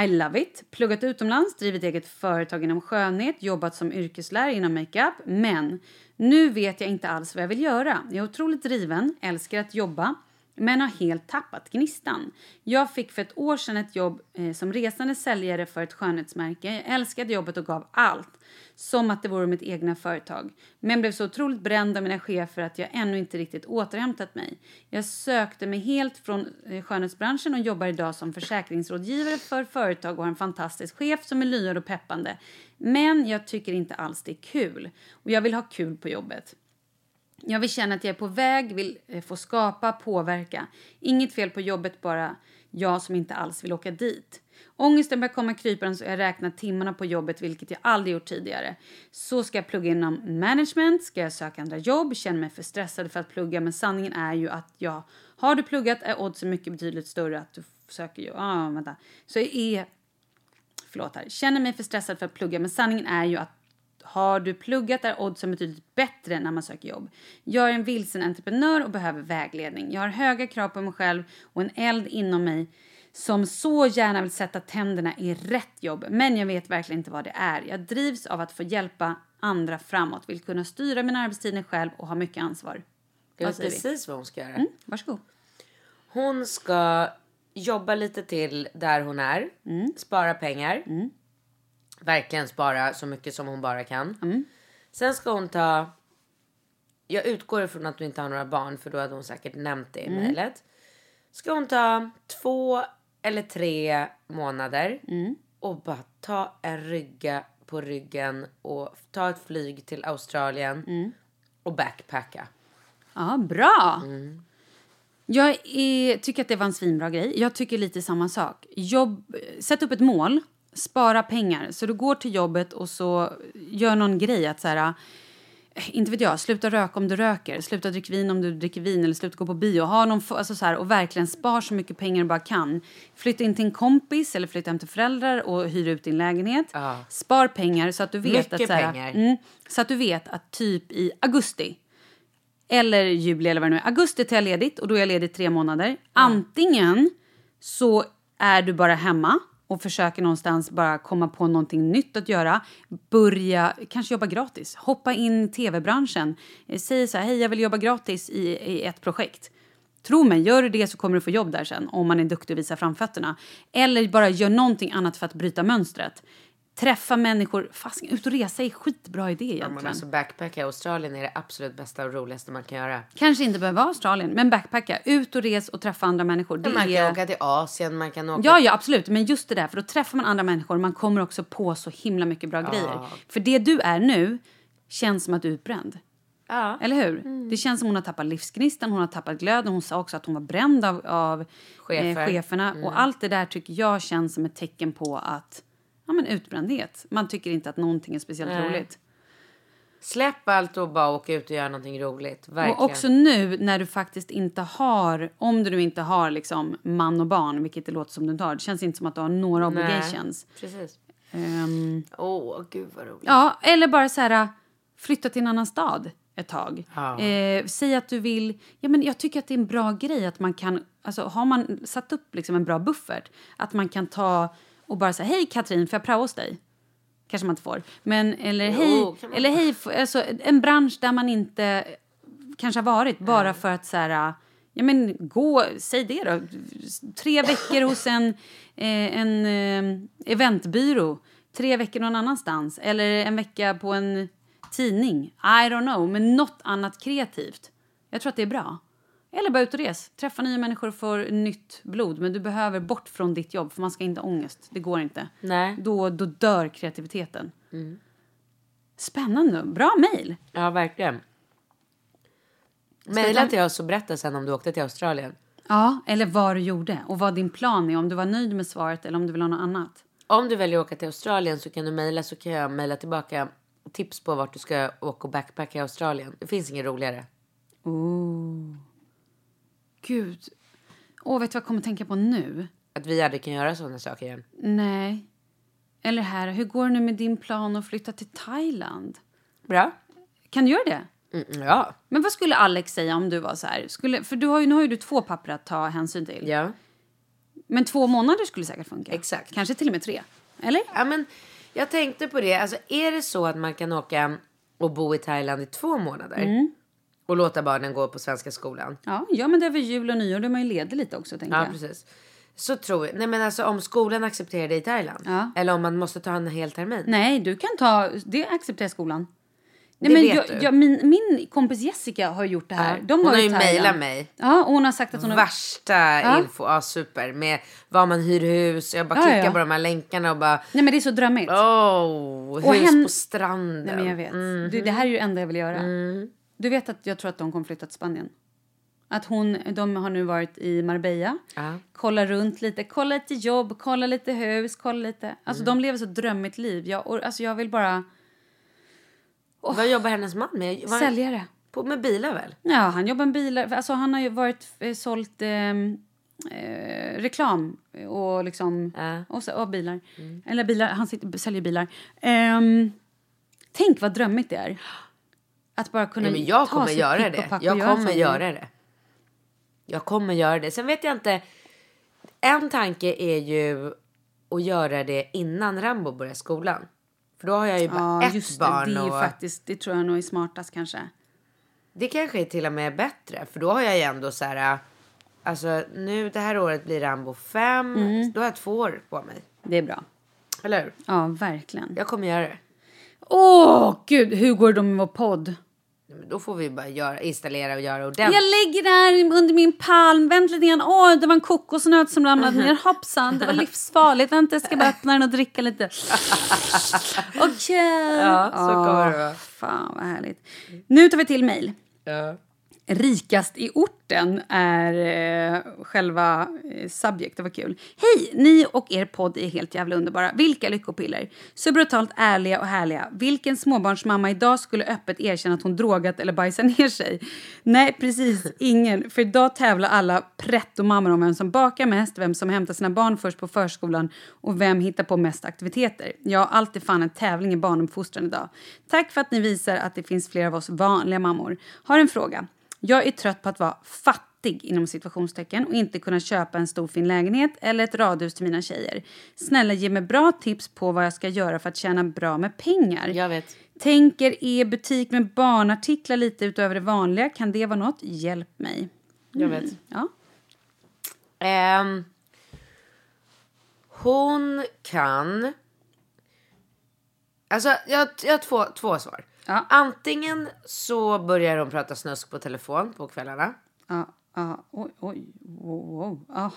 Speaker 1: i love it. Pluggat utomlands, drivit eget företag inom skönhet, jobbat som yrkeslärare inom makeup. Men nu vet jag inte alls vad jag vill göra. Jag är otroligt driven, älskar att jobba, men har helt tappat gnistan. Jag fick för ett år sedan ett jobb eh, som resande säljare för ett skönhetsmärke. Jag älskade jobbet och gav allt, som att det vore mitt egna företag. Men blev så otroligt bränd av mina chefer att jag ännu inte riktigt återhämtat mig. Jag sökte mig helt från eh, skönhetsbranschen och jobbar idag som försäkringsrådgivare för företag och har en fantastisk chef som är lyhörd och peppande. Men jag tycker inte alls det är kul och jag vill ha kul på jobbet. Jag vill känna att jag är på väg, vill eh, få skapa, påverka. Inget fel på jobbet, bara jag som inte alls vill åka dit. Ångesten börjar komma krypande så jag räknar timmarna på jobbet, vilket jag aldrig gjort tidigare. Så ska jag plugga inom management, ska jag söka andra jobb, känner mig för stressad för att plugga, men sanningen är ju att jag har du pluggat är oddsen mycket betydligt större att du söker jobb. Ah, vänta. Så jag är förlåt här, känner mig för stressad för att plugga men sanningen är ju att har du pluggat är oddsen betydligt bättre när man söker jobb. Jag är en vilsen entreprenör och behöver vägledning. Jag har höga krav på mig själv och en eld inom mig som så gärna vill sätta tänderna i rätt jobb men jag vet verkligen inte vad det är. Jag drivs av att få hjälpa andra framåt, vill kunna styra mina arbetstider själv och ha mycket ansvar.
Speaker 2: Jag
Speaker 1: Vad
Speaker 2: vet
Speaker 1: säger vi?
Speaker 2: precis vad hon ska göra.
Speaker 1: Mm, varsågod.
Speaker 2: Hon ska jobba lite till där hon är.
Speaker 1: Mm.
Speaker 2: Spara pengar. Verkligen spara så mycket som hon bara kan.
Speaker 1: Mm.
Speaker 2: Sen ska hon ta... Jag utgår ifrån att du inte har några barn för då hade hon säkert nämnt det i
Speaker 1: Mm.
Speaker 2: mejlet. Ska hon ta två eller tre månader
Speaker 1: Mm.
Speaker 2: och bara ta en rygga på ryggen och ta ett flyg till Australien
Speaker 1: Mm.
Speaker 2: och backpacka.
Speaker 1: Ja, bra! Mm. Jag är, tycker att det var en svinbra grej. Jag tycker lite samma sak. Jobb, sätt upp ett mål, spara pengar. Så du går till jobbet och så gör någon grej. att så här, eh, Inte vet jag, sluta röka om du röker, sluta dricka vin om du dricker vin eller sluta gå på bio. Ha någon, f- alltså så här, och verkligen spar så mycket pengar du bara kan. Flytta in till en kompis eller flytta hem till föräldrar och hyra ut din lägenhet.
Speaker 2: Ja.
Speaker 1: Spar pengar så att du vet att...
Speaker 2: Mycket
Speaker 1: Så här,
Speaker 2: pengar.
Speaker 1: Mm, så att du vet att typ i augusti eller juli eller vad det nu är. Augusti tar jag ledigt och då är jag ledig tre månader. Antingen så är du bara hemma och försöker någonstans bara komma på någonting nytt att göra. Börja, kanske jobba gratis. Hoppa in i tv-branschen. Eh, Säg så här, hej jag vill jobba gratis i, i ett projekt. Tro mig, gör du det så kommer du få jobb där sen om man är duktig och visar framfötterna. Eller bara gör någonting annat för att bryta mönstret. Träffa människor. Fasken, ut och resa är skitbra idé egentligen.
Speaker 2: Men alltså backpacka i Australien är det absolut bästa och roligaste man kan göra.
Speaker 1: Kanske inte behöver vara Australien, men backpacka. Ut och res och träffa andra människor. Det
Speaker 2: Man kan
Speaker 1: är...
Speaker 2: åka till Asien, man kan åka...
Speaker 1: Ja, ja, absolut. Men just det där, för då träffar man andra människor och man kommer också på så himla mycket bra grejer. För det du är nu känns som att du är utbränd.
Speaker 2: Ja. Mm.
Speaker 1: Eller hur? Det känns som hon har tappat livsgnistan, hon har tappat glöden. Hon sa också att hon var bränd av, av
Speaker 2: Chefer. Mm.
Speaker 1: Eh, cheferna. Och allt det där tycker jag känns som ett tecken på att ja, men utbrändhet. Man tycker inte att någonting är speciellt
Speaker 2: Nej.
Speaker 1: roligt.
Speaker 2: Släpp allt och bara åka ut och göra någonting roligt. Verkligen.
Speaker 1: Och också nu när du faktiskt inte har, om du nu inte har liksom man och barn, vilket det låter som du inte har, det känns inte som att du har några
Speaker 2: Nej,
Speaker 1: obligations.
Speaker 2: Precis.
Speaker 1: Ehm,
Speaker 2: Åh, gud vad roligt.
Speaker 1: ja, eller bara så här, äh, flytta till en annan stad ett tag.
Speaker 2: Ja.
Speaker 1: Eh, säg att du vill, ja men jag tycker att det är en bra grej att man kan, alltså har man satt upp liksom en bra buffert, att man kan ta och bara säga hej Katrin, får jag prao hos dig? Kanske man inte får, men eller hej,
Speaker 2: Oh, kan man.
Speaker 1: eller hej, f- alltså en bransch där man inte kanske har varit bara för att så här, ja men gå, säg det då, tre veckor hos en, eh, en eh, eventbyrå, tre veckor någon annanstans eller en vecka på en tidning, I don't know, men något annat kreativt. Jag tror att det är bra. Eller bara ut och res, träffa nya människor och få nytt blod, men du behöver bort från ditt jobb för man ska inte ha ångest, det går inte.
Speaker 2: Nej.
Speaker 1: Då, då dör kreativiteten.
Speaker 2: Mm.
Speaker 1: Spännande, bra mejl!
Speaker 2: Ja, verkligen.
Speaker 1: vi
Speaker 2: Mejla
Speaker 1: ta-
Speaker 2: till oss och berätta sen om du åkte till Australien.
Speaker 1: Ja, eller vad du gjorde och vad din plan är. Om du var nöjd med svaret eller om du vill ha något annat.
Speaker 2: Om du väljer att åka till Australien så kan du mejla så kan jag mejla tillbaka tips på vart du ska åka och backpacka i Australien. Det finns inget roligare.
Speaker 1: Oh. Gud. Åh, vet du vad jag kommer att tänka på nu?
Speaker 2: Att vi aldrig kan göra sådana saker igen.
Speaker 1: Nej. Eller här, hur går det nu med din plan att flytta till Thailand?
Speaker 2: Bra.
Speaker 1: Kan du göra det?
Speaker 2: Mm, ja.
Speaker 1: Men vad skulle Alex säga om du var så här? Skulle, för du har ju, nu har ju du två papper att ta hänsyn till.
Speaker 2: Ja.
Speaker 1: Men två månader skulle säkert funka.
Speaker 2: Exakt.
Speaker 1: Kanske till och med tre. Eller?
Speaker 2: Ja, men jag tänkte på det. Alltså, är det så att man kan åka och bo i Thailand i två månader
Speaker 1: Mm.
Speaker 2: och låta barnen gå på svenska skolan?
Speaker 1: Ja, ja men det är väl jul och nyår. Då är man ju ledig lite också, tänker
Speaker 2: Ja,
Speaker 1: jag.
Speaker 2: precis. Så tror jag. Nej, men alltså om skolan accepterar det i Thailand.
Speaker 1: Ja.
Speaker 2: Eller om man måste ta en hel termin.
Speaker 1: Nej, du kan ta... Det accepterar skolan. Nej,
Speaker 2: Det
Speaker 1: men
Speaker 2: vet
Speaker 1: jag,
Speaker 2: du.
Speaker 1: jag, min, min kompis Jessica har gjort det här.
Speaker 2: Ja.
Speaker 1: De
Speaker 2: Hon
Speaker 1: var
Speaker 2: har
Speaker 1: i
Speaker 2: ju
Speaker 1: Thailand.
Speaker 2: mejlat mig.
Speaker 1: Ja, och hon har sagt att hon har...
Speaker 2: Värsta
Speaker 1: Ja.
Speaker 2: info. Ja, super. Med var man hyr hus. Jag bara
Speaker 1: Ja,
Speaker 2: klickar
Speaker 1: ja.
Speaker 2: på de här länkarna och bara...
Speaker 1: Nej, men det är så drömmigt.
Speaker 2: Oh,
Speaker 1: Och
Speaker 2: hus
Speaker 1: hen-
Speaker 2: på stranden.
Speaker 1: Nej, men jag vet.
Speaker 2: Mhm.
Speaker 1: Du, det här är ju det enda jag vill göra.
Speaker 2: Mm.
Speaker 1: Du vet att jag tror att de kommer flytta till Spanien. Att hon, de har nu varit i Marbella,
Speaker 2: Ja.
Speaker 1: kolla runt lite, kolla lite jobb, kolla lite hus, kolla lite... Alltså
Speaker 2: Mm.
Speaker 1: de lever så drömmigt liv. Jag, or- alltså, jag vill bara...
Speaker 2: Vad jobbar hennes man med? Var han
Speaker 1: Säljare.
Speaker 2: På, med bilar väl?
Speaker 1: Ja, han jobbar med bilar. Alltså han har ju varit, eh, sålt ehm, eh, reklam och liksom...
Speaker 2: Ja. Mm.
Speaker 1: Och, så, och bilar. Eller bilar, han sitter, säljer bilar. Ehm, tänk vad drömmigt det är. Att bara kunna
Speaker 2: Nej, men jag
Speaker 1: ta
Speaker 2: kommer
Speaker 1: sitt
Speaker 2: göra
Speaker 1: pick och
Speaker 2: det.
Speaker 1: pack och
Speaker 2: Jag kommer
Speaker 1: sånt.
Speaker 2: göra det. Jag kommer göra det. Sen vet jag inte. En tanke är ju att göra det innan Rambo börjar skolan. För då har jag ju bara
Speaker 1: Ja,
Speaker 2: ett
Speaker 1: just det.
Speaker 2: barn.
Speaker 1: Det, är ju
Speaker 2: och
Speaker 1: faktiskt, det tror jag nog är smartast kanske.
Speaker 2: det kanske är till och med bättre. För då har jag ju ändå så här. Alltså nu det här året blir Rambo fem.
Speaker 1: Mm.
Speaker 2: Då har jag två år på mig.
Speaker 1: Det är bra.
Speaker 2: Eller hur?
Speaker 1: Ja, verkligen.
Speaker 2: Jag kommer göra det.
Speaker 1: Åh, gud! Hur går det då med vår podd?
Speaker 2: Men Då får vi bara göra, installera och göra
Speaker 1: Jag
Speaker 2: ordentligt.
Speaker 1: ligger där under min palm. Vänta lite grann. Åh, det var en kokosnöt som ramlade
Speaker 2: Mhm.
Speaker 1: ner. Hoppsan, det var livsfarligt. Vänta, jag ska bara öppna den och dricka lite. Okej.
Speaker 2: Ja, så kommer det
Speaker 1: Åh,
Speaker 2: vara.
Speaker 1: Fan, vad härligt. Nu tar vi till mejl.
Speaker 2: Ja.
Speaker 1: Rikast i orten är eh, själva eh, subject. Det var kul. Hej! Ni och er podd är helt jävla underbara. Vilka lyckopiller! Så brutalt ärliga och härliga. Vilken småbarnsmamma idag skulle öppet erkänna att hon drogat eller bajsat ner sig? Nej, precis ingen. För idag tävlar alla pretto-mammor om vem som bakar mest, vem som hämtar sina barn först på förskolan och vem hittar på mest aktiviteter. Ja, allt är fan en tävling i barnuppfostran idag. Tack för att ni visar att det finns fler av oss vanliga mammor. Har en fråga. Jag är trött på att vara fattig inom situationstecken och inte kunna köpa en stor fin lägenhet eller ett radhus till mina tjejer. Snälla ge mig bra tips på vad jag ska göra för att tjäna bra med pengar.
Speaker 2: Jag vet.
Speaker 1: Tänker e-butik med barnartiklar lite utöver det vanliga. Kan det vara något? Hjälp mig.
Speaker 2: Jag vet.
Speaker 1: Ja.
Speaker 2: Ehm, hon kan... Alltså, jag, jag har två, två svar.
Speaker 1: Ja.
Speaker 2: Antingen så börjar hon prata snusk på telefon på kvällarna.
Speaker 1: Ja, ja. Oj, oj. Wow, wow. Aha.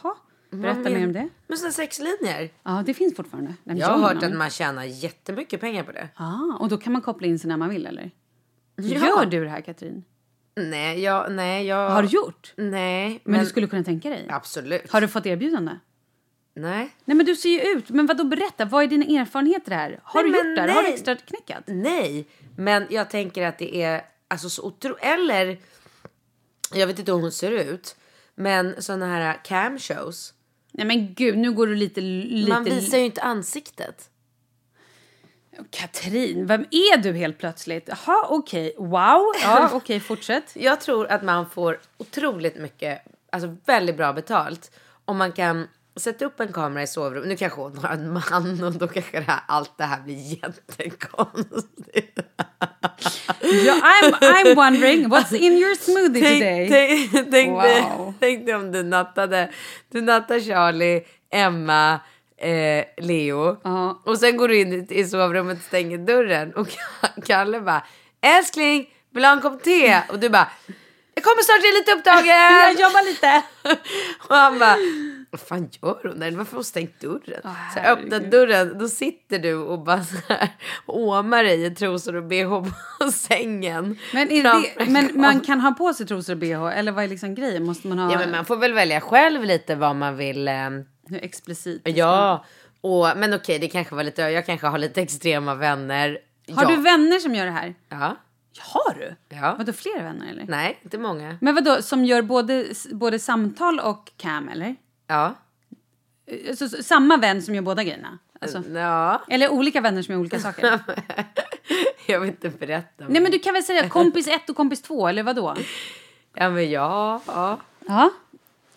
Speaker 2: Vad
Speaker 1: Berätta
Speaker 2: men-
Speaker 1: mer om det.
Speaker 2: Men såna sexlinjer.
Speaker 1: Ja, det finns fortfarande. Nej, men
Speaker 2: Jag har hört
Speaker 1: menar-
Speaker 2: att man tjänar jättemycket pengar på det.
Speaker 1: Ah, och då kan man koppla in sig när man vill, eller?
Speaker 2: Ja.
Speaker 1: Gör du det här, Katrin?
Speaker 2: Nej, jag... Nej, jag
Speaker 1: Har du gjort?
Speaker 2: Nej,
Speaker 1: Men, du skulle kunna tänka dig?
Speaker 2: Absolut.
Speaker 1: Har du fått erbjudande?
Speaker 2: Nej.
Speaker 1: Nej men du ser ju ut, men vadå berätta, vad är dina erfarenheter här? Har
Speaker 2: Nej,
Speaker 1: du
Speaker 2: men
Speaker 1: gjort det här? Har du
Speaker 2: nej.
Speaker 1: extra knäckat?
Speaker 2: Nej, men jag tänker att det är alltså så otro... Eller, jag vet inte hur hon ser ut, men såna här cam shows.
Speaker 1: Nej men gud, nu går du lite, lite...
Speaker 2: Man visar ju inte ansiktet.
Speaker 1: Oh, Katrin, vem är du helt plötsligt? Jaha, okej, wow, ja okej, fortsätt.
Speaker 2: Jag tror att man får otroligt mycket, alltså väldigt bra betalt om man kan sätta upp en kamera i sovrummet. Nu kanske hon har en man och då kanske det här, allt det här blir jättekonstigt.
Speaker 1: Ja, I'm, I'm wondering, what's in your smoothie today?
Speaker 2: Tänk, tänk, tänk, dig,
Speaker 1: Wow.
Speaker 2: tänk dig om du nattade. Du nattar Charlie, Emma, eh, Leo.
Speaker 1: Ja.
Speaker 2: Och sen går du in i, i sovrummet och stänger dörren. Och Kalle bara, älskling, vill du ha en kopp te? Och du bara, jag kommer snart, jag är lite upptagen.
Speaker 1: Jag jobbar lite.
Speaker 2: Och han bara, vad fan gör hon där? Varför har hon stängt dörren? så jag öppnar dörren, då sitter du och bara så här, åmar dig i trosor och bh på sängen.
Speaker 1: Men, är det,
Speaker 2: Framför
Speaker 1: men man
Speaker 2: kameran.
Speaker 1: kan ha på sig trosor och bh, eller vad är liksom grejen? Måste man ha...
Speaker 2: Ja, men man får väl välja själv lite vad man vill. ehm,
Speaker 1: Hur explicit? det ska vara.
Speaker 2: Ja, och, men okej, det kanske var lite, jag kanske har lite extrema vänner.
Speaker 1: Har
Speaker 2: ja.
Speaker 1: du vänner som gör det här?
Speaker 2: Ja.
Speaker 1: Har du?
Speaker 2: Ja.
Speaker 1: Vadå, fler vänner eller?
Speaker 2: Nej, inte många.
Speaker 1: Men vadå, som gör både, både samtal och cam, eller?
Speaker 2: Ja.
Speaker 1: Eh, Så, så, samma vän som gör båda grejerna? Alltså,
Speaker 2: Eh, ja.
Speaker 1: eller olika vänner som gör olika saker?
Speaker 2: jag vill inte berätta.
Speaker 1: Nej, men du kan väl säga kompis ett och kompis två, eller vadå?
Speaker 2: Eh. Ja, men ja. ja.
Speaker 1: Ja.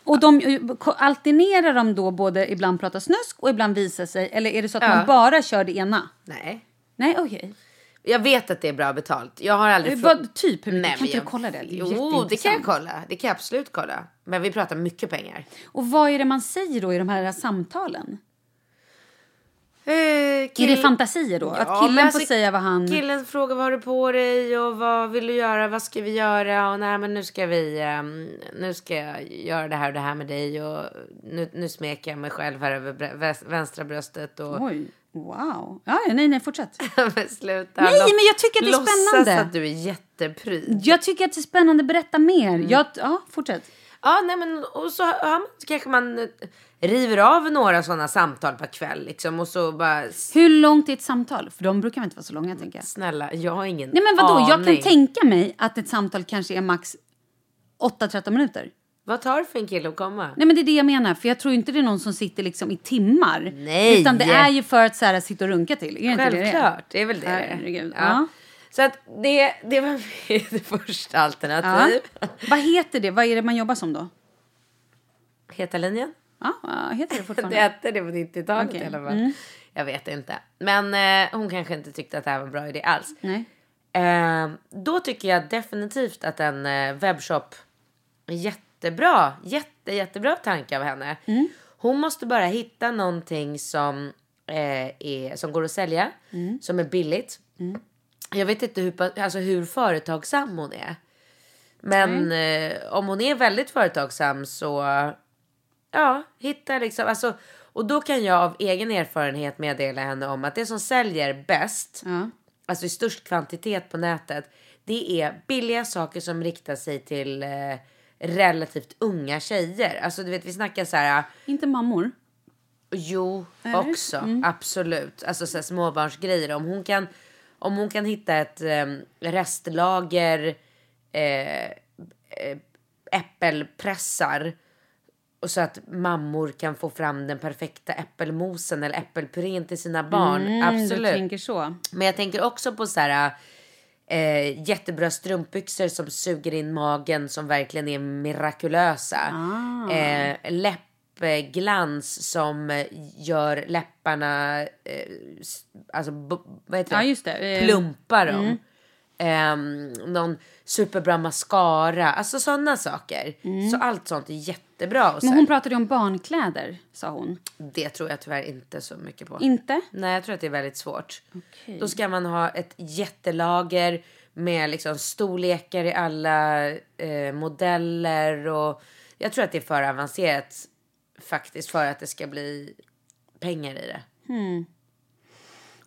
Speaker 1: Och de, eh, alternerar de då både ibland prata snusk och ibland visa sig? Eller är det så att man bara kör det ena?
Speaker 2: Nej.
Speaker 1: Nej,
Speaker 2: Mm.
Speaker 1: okej.
Speaker 2: Jag vet att det är bra betalt. Jag har aldrig...
Speaker 1: Eh,
Speaker 2: frå-
Speaker 1: vad- typ hur mycket? Kan
Speaker 2: men
Speaker 1: inte
Speaker 2: jag-
Speaker 1: du kolla det? Det är
Speaker 2: Jo, det kan
Speaker 1: jätteintressant.
Speaker 2: jag kolla. Det kan jag absolut kolla. Men vi pratar mycket pengar.
Speaker 1: Och vad är det man säger då i de här samtalen?
Speaker 2: Eh, kill-
Speaker 1: Är det fantasier då?
Speaker 2: Ja,
Speaker 1: att
Speaker 2: men
Speaker 1: killen
Speaker 2: alltså,
Speaker 1: får säga vad han...
Speaker 2: Killen frågar vad har du på dig och vad vill du göra, vad ska vi göra och nej men nu ska vi, ehm, nu ska jag göra det här och det här med dig och nu, nu smeker jag mig själv här över brä- väs- vänstra bröstet och
Speaker 1: Oj, wow. Ja, ja, nej, nej, fortsätt.
Speaker 2: men sluta.
Speaker 1: Nej,
Speaker 2: Lå-
Speaker 1: men jag tycker att det är spännande.
Speaker 2: Låtsas att du är jättepryd.
Speaker 1: Jag tycker att det är spännande. Berätta mer.
Speaker 2: Mm.
Speaker 1: Jag, ja, fortsätt.
Speaker 2: Ja, nej men och så ja, men så kanske man eh, river av några sådana samtal per kväll liksom och så bara s-
Speaker 1: Hur långt är ett samtal? För de brukar väl inte vara så långa, tänker jag.
Speaker 2: snälla, jag har ingen
Speaker 1: Nej, men vadå?
Speaker 2: aning.
Speaker 1: Jag kan tänka mig att ett samtal kanske är max 8-13 minuter.
Speaker 2: Vad tar det för en kille att komma?
Speaker 1: Nej, men det är det jag menar. För jag tror inte det är någon som sitter liksom i timmar.
Speaker 2: Nej.
Speaker 1: Utan det är ju för att så här, sitta och runka till. Är det inte det det är?
Speaker 2: Självklart, det är väl det det är.
Speaker 1: Herregud,
Speaker 2: Ja.
Speaker 1: ja.
Speaker 2: Så att det, det var mitt första alternativ.
Speaker 1: Ja. Vad heter det? Vad är det man jobbar som då?
Speaker 2: Heta linjen.
Speaker 1: Ja, vad heter det
Speaker 2: Det
Speaker 1: fortfarande?
Speaker 2: hette det på 90-talet i
Speaker 1: Okej. Mm.
Speaker 2: alla fall. Jag vet inte. Men eh, hon kanske inte tyckte att det här var en bra idé alls.
Speaker 1: Nej.
Speaker 2: Eh, då tycker jag definitivt att en eh, webbshop är jättebra. Jätte, jättebra tanke av henne. Hon måste bara hitta någonting som, eh, är, som går att sälja, som är billigt. Jag vet inte hur, pa- alltså hur företagsam hon är. Men eh, om hon är väldigt företagsam så ja, hitta liksom. Alltså, och då kan jag av egen erfarenhet meddela henne om att det som säljer bäst, alltså i störst kvantitet på nätet, det är billiga saker som riktar sig till eh, relativt unga tjejer. Alltså du vet, vi snackar så här.
Speaker 1: Inte mammor. Mm,
Speaker 2: Jo, också. Absolut. Alltså så här, småbarnsgrejer. Om hon kan, om hon kan hitta ett em, restlager eh, eh, äppelpressar och så att mammor kan få fram den perfekta äppelmosen eller äppelpurén till sina barn.
Speaker 1: Du
Speaker 2: absolut.
Speaker 1: Mm, tänker så.
Speaker 2: Men jag tänker också på så här eh, jättebra strumpbyxor som suger in magen som verkligen är mirakulösa.
Speaker 1: Ah.
Speaker 2: Eh, läppglans som gör läpparna, eh, s- alltså b- vad heter
Speaker 1: Ja,
Speaker 2: det?
Speaker 1: just det. Eh,
Speaker 2: Plumpa dem. Ehm, någon superbra mascara, alltså sådana saker. Så allt sånt är jättebra och så
Speaker 1: Mm. Men
Speaker 2: här,
Speaker 1: hon pratade ju om barnkläder, sa hon.
Speaker 2: det tror jag tyvärr inte så mycket på.
Speaker 1: Inte?
Speaker 2: Nej, jag tror att det är väldigt svårt. Då ska man ha ett jättelager med liksom storlekar i alla eh, modeller och jag tror att det är för avancerat faktiskt för att det ska bli pengar i det.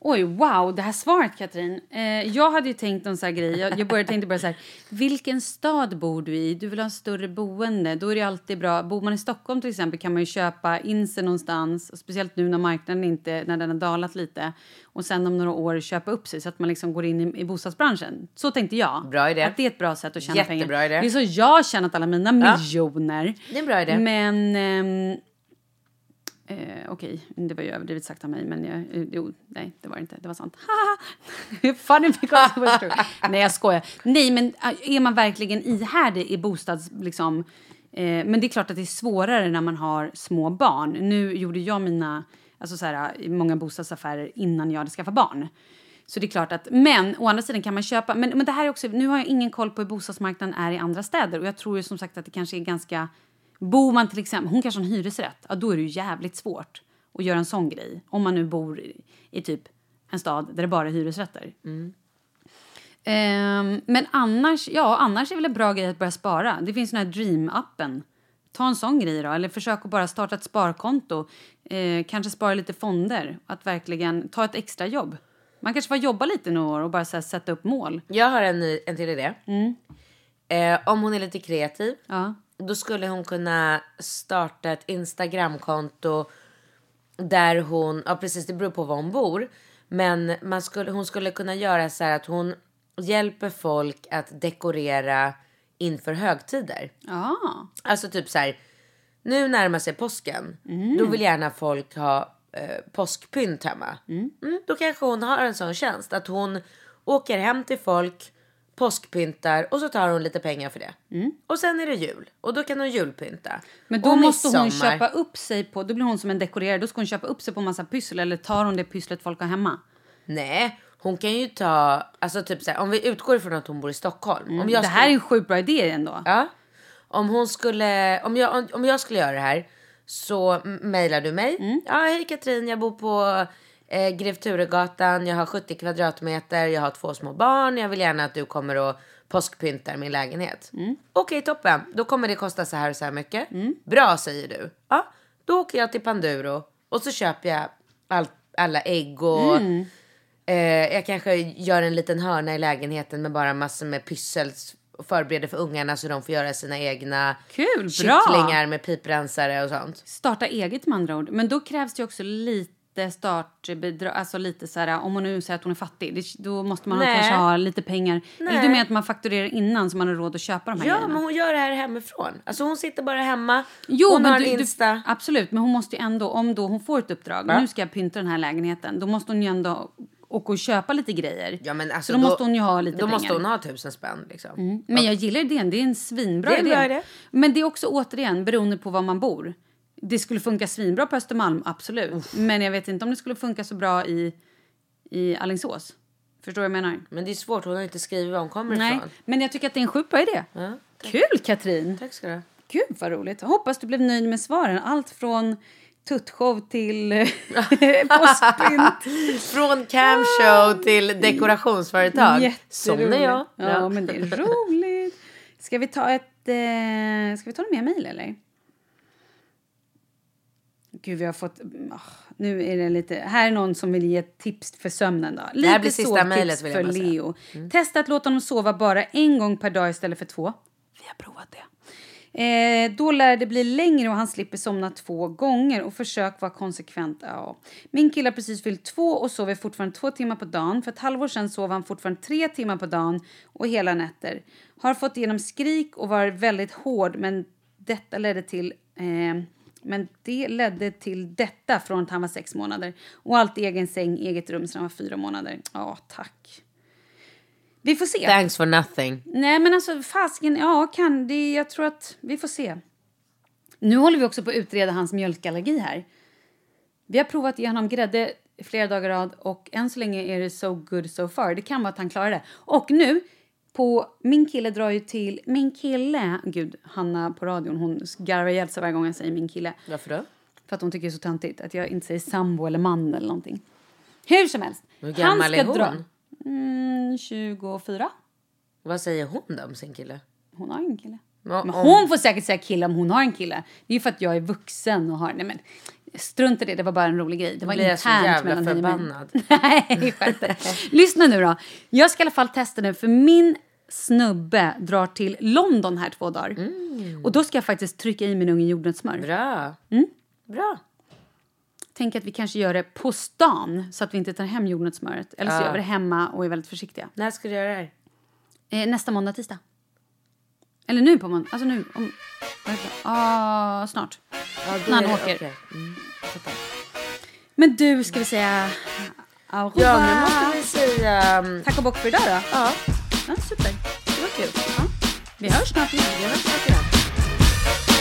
Speaker 1: Oj, wow, det här svaret, Katrin. Eh, jag hade ju tänkt en sån här grej. Jag, jag började, tänkte bara så här, vilken stad bor du i? Du vill ha en större boende. Då är det ju alltid bra. Bor man i Stockholm till exempel kan man ju köpa in sig någonstans. Och speciellt nu när marknaden inte, när den har dalat lite. Och sen om några år köpa upp sig så att man liksom går in i, i bostadsbranschen. Så tänkte jag.
Speaker 2: Bra idé.
Speaker 1: Att det är ett bra sätt att tjäna pengar.
Speaker 2: Jättebra idé.
Speaker 1: Det är så jag har tjänat alla mina miljoner.
Speaker 2: Det är en bra idé.
Speaker 1: Men... ehm, Eh, Okej, det var ju överdrivet sagt av mig, men jag, eh, jo, nej, det var det inte. Det var sant. Haha! Funny because it was true. nej, jag skojar. Nej, men eh, är man verkligen ihärdig i bostads... Liksom, eh, men det är klart att det är svårare när man har små barn. Nu gjorde jag mina... Alltså så här, eh, många bostadsaffärer innan jag hade skaffat barn. Så det är klart att, men å andra sidan kan man köpa, men, men det här är också, nu har jag ingen koll på hur bostadsmarknaden är i andra städer och jag tror ju som sagt att det kanske är ganska, bor man till exempel, hon kanske har en hyresrätt, ja då är det ju jävligt svårt att göra en sån grej. Om man nu bor i, i typ en stad där det bara är hyresrätter. Ehm, men annars, ja annars är väl en bra grej att börja spara. Det finns den här Dream-appen Ta en sån grej då, eller försök att bara starta ett sparkonto. Eh, kanske spara lite fonder, att verkligen ta ett extra jobb. Man kanske får jobba lite några år och bara så här, sätta upp mål.
Speaker 2: Jag har en, ny- en till idé. Eh, om hon är lite kreativ
Speaker 1: Ja.
Speaker 2: då skulle hon kunna starta ett Instagramkonto där hon, ja precis det beror på var hon bor, men man skulle, hon skulle kunna göra så här att hon hjälper folk att dekorera inför högtider.
Speaker 1: Ja.
Speaker 2: Alltså typ så här, nu närmar sig påsken.
Speaker 1: Mm.
Speaker 2: Då vill gärna folk ha eh, påskpynt hemma. Mm, då kanske hon har en sån tjänst att hon åker hem till folk, påskpyntar och så tar hon lite pengar för det. Och sen är det jul och då kan hon julpynta.
Speaker 1: Mm. Men då
Speaker 2: och
Speaker 1: måste hon
Speaker 2: midsommar.
Speaker 1: köpa upp sig på... Då blir hon som en dekorerare. Då ska hon köpa upp sig på massa pyssel. Eller tar hon det pysslet folk har hemma?
Speaker 2: Mm. Nej, hon kan ju ta, alltså typ så här, om vi utgår ifrån att hon bor i Stockholm. om jag
Speaker 1: Mm. det här är en sjukt bra idé ändå.
Speaker 2: Ja. Om hon skulle, om jag, om- om jag skulle göra det här så m- mejlar du mig. Ja, hej Katrin, jag bor på eh, Grev Turegatan, jag har 70 kvadratmeter, jag har två små barn, jag vill gärna att du kommer och påskpyntar min lägenhet. Okej, toppen. Då kommer det kosta så här och så här mycket. Bra, säger du. Ja, då åker jag till Panduro och så köper jag all, alla ägg och Eh, jag kanske gör en liten hörna i lägenheten med bara massor med pyssel och förbereder för ungarna så de får göra sina egna
Speaker 1: Kul, bra!
Speaker 2: kycklingar med piprensare och sånt.
Speaker 1: Starta eget med andra ord. Men då krävs det ju också lite startbidrag. Alltså lite så här, om hon nu säger att hon är fattig. Det, då måste man
Speaker 2: Nej.
Speaker 1: kanske ha lite pengar. Eller du
Speaker 2: Nej.
Speaker 1: menar att man fakturerar innan så man har råd att köpa de här
Speaker 2: Ja,
Speaker 1: grejerna?
Speaker 2: men hon gör det här hemifrån. Alltså hon sitter bara hemma.
Speaker 1: Jo,
Speaker 2: hon
Speaker 1: men
Speaker 2: har
Speaker 1: du,
Speaker 2: en Insta.
Speaker 1: Du, absolut, men hon måste ju ändå, om då hon får ett uppdrag,
Speaker 2: Va?
Speaker 1: nu ska jag pynta den här lägenheten, då måste hon ju ändå åka och köpa lite grejer.
Speaker 2: ja, men alltså,
Speaker 1: så då, måste hon ju ha lite
Speaker 2: Då
Speaker 1: pengar. Mm.
Speaker 2: måste hon ha tusen spänn liksom.
Speaker 1: Men jag gillar idén, det är en svinbra
Speaker 2: Det är en
Speaker 1: idé.
Speaker 2: bra idé.
Speaker 1: Men det är också återigen beroende på var man bor. Det skulle funka svinbra på Östermalm, absolut. Men jag vet inte om det skulle funka så bra i, i Alingsås. Förstår du vad jag menar?
Speaker 2: Men det är svårt, hon har inte skrivit var hon kommer
Speaker 1: Nej,
Speaker 2: ifrån.
Speaker 1: men jag tycker att det är en sjukt bra idé.
Speaker 2: Ja.
Speaker 1: Kul Katrin!
Speaker 2: Tack ska du ha.
Speaker 1: Gud vad roligt. Jag hoppas du blev nöjd med svaren. Allt från tuttshow till eh, påskpynt.
Speaker 2: Från camshow till dekorationsföretag. Sån är jag.
Speaker 1: Ja, men det är roligt. Ska vi ta ett... Eh, ska vi ta någon mer mejl eller? Gud, vi har fått... ah, nu är det lite... Här är någon som vill ge ett tips för sömnen då. Lite
Speaker 2: här blir sista
Speaker 1: sovtips
Speaker 2: mejlet, vill jag
Speaker 1: för
Speaker 2: bara säga. Mm.
Speaker 1: Leo. Testa att låta honom sova bara en gång per dag istället för två. Vi har provat det. Eh, då lär det bli längre och han slipper somna två gånger. Och försök vara konsekvent. Ja. Min kille har precis fyllt två och sover fortfarande två timmar på dagen. För ett halvår sedan sov han fortfarande tre timmar på dagen och hela nätter. Har fått igenom skrik och var väldigt hård men detta ledde till eh, men det ledde till detta från att han var sex månader. Och allt i egen säng, eget rum sedan han var fyra månader. Ja, tack. Vi får se.
Speaker 2: Thanks for nothing.
Speaker 1: Nej, men alltså fasken, ja, kan det, jag tror att vi får se. Nu håller vi också på att utreda hans mjölkallergi här. Vi har provat att ge honom grädde flera dagar i rad och än så länge är det so good so far. Det kan vara att han klarar det. Och nu, på min kille drar ju till, min kille, gud, Hanna på radion, hon garvar ihjäl sig varje gång jag säger min kille.
Speaker 2: Varför då?
Speaker 1: För att hon tycker det är så töntigt att jag inte säger sambo eller man eller någonting. Hur som helst.
Speaker 2: Hur gammal
Speaker 1: han ska
Speaker 2: är hon?
Speaker 1: Dra, mm, 24.
Speaker 2: Vad säger hon då om sin kille?
Speaker 1: Hon har ingen kille.
Speaker 2: Ja,
Speaker 1: Men
Speaker 2: om-
Speaker 1: hon får säkert säga kille om hon har en kille. Det är ju för att jag är vuxen och har... Nej men, strunt i det. Det var bara en rolig grej. Det var
Speaker 2: blir jag så
Speaker 1: internt
Speaker 2: jävla
Speaker 1: mellan dig och mig.
Speaker 2: förbannad.
Speaker 1: Nej, skämt. Lyssna nu då. Jag ska i alla fall testa nu för min snubbe drar till London här två dagar. Och då ska jag faktiskt trycka i min unge jordnötssmör.
Speaker 2: Mm. Bra.
Speaker 1: Mm.
Speaker 2: Bra.
Speaker 1: Tänk att vi kanske gör det på stan så att vi inte tar hem jordnötssmöret. Eller så gör vi det hemma och är väldigt försiktiga.
Speaker 2: När ska du göra det här?
Speaker 1: Eh, nästa måndag, tisdag. Eller nu på måndag. Alltså nu. Om, vad heter det? ah, snart.
Speaker 2: då
Speaker 1: När han
Speaker 2: är det-
Speaker 1: åker.
Speaker 2: okej.
Speaker 1: Men du, ska vi säga... Au
Speaker 2: Ja,
Speaker 1: revoir.
Speaker 2: nu måste vi säga... mm,
Speaker 1: Tack och bock för idag då.
Speaker 2: Ja.
Speaker 1: Ja, super. Det var kul. Ja. Vi hörs snart igen.
Speaker 2: Jag vill snacka om.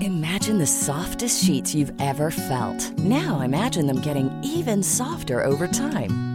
Speaker 4: Imagine the softest sheets you've ever felt. Now imagine them getting even softer over time.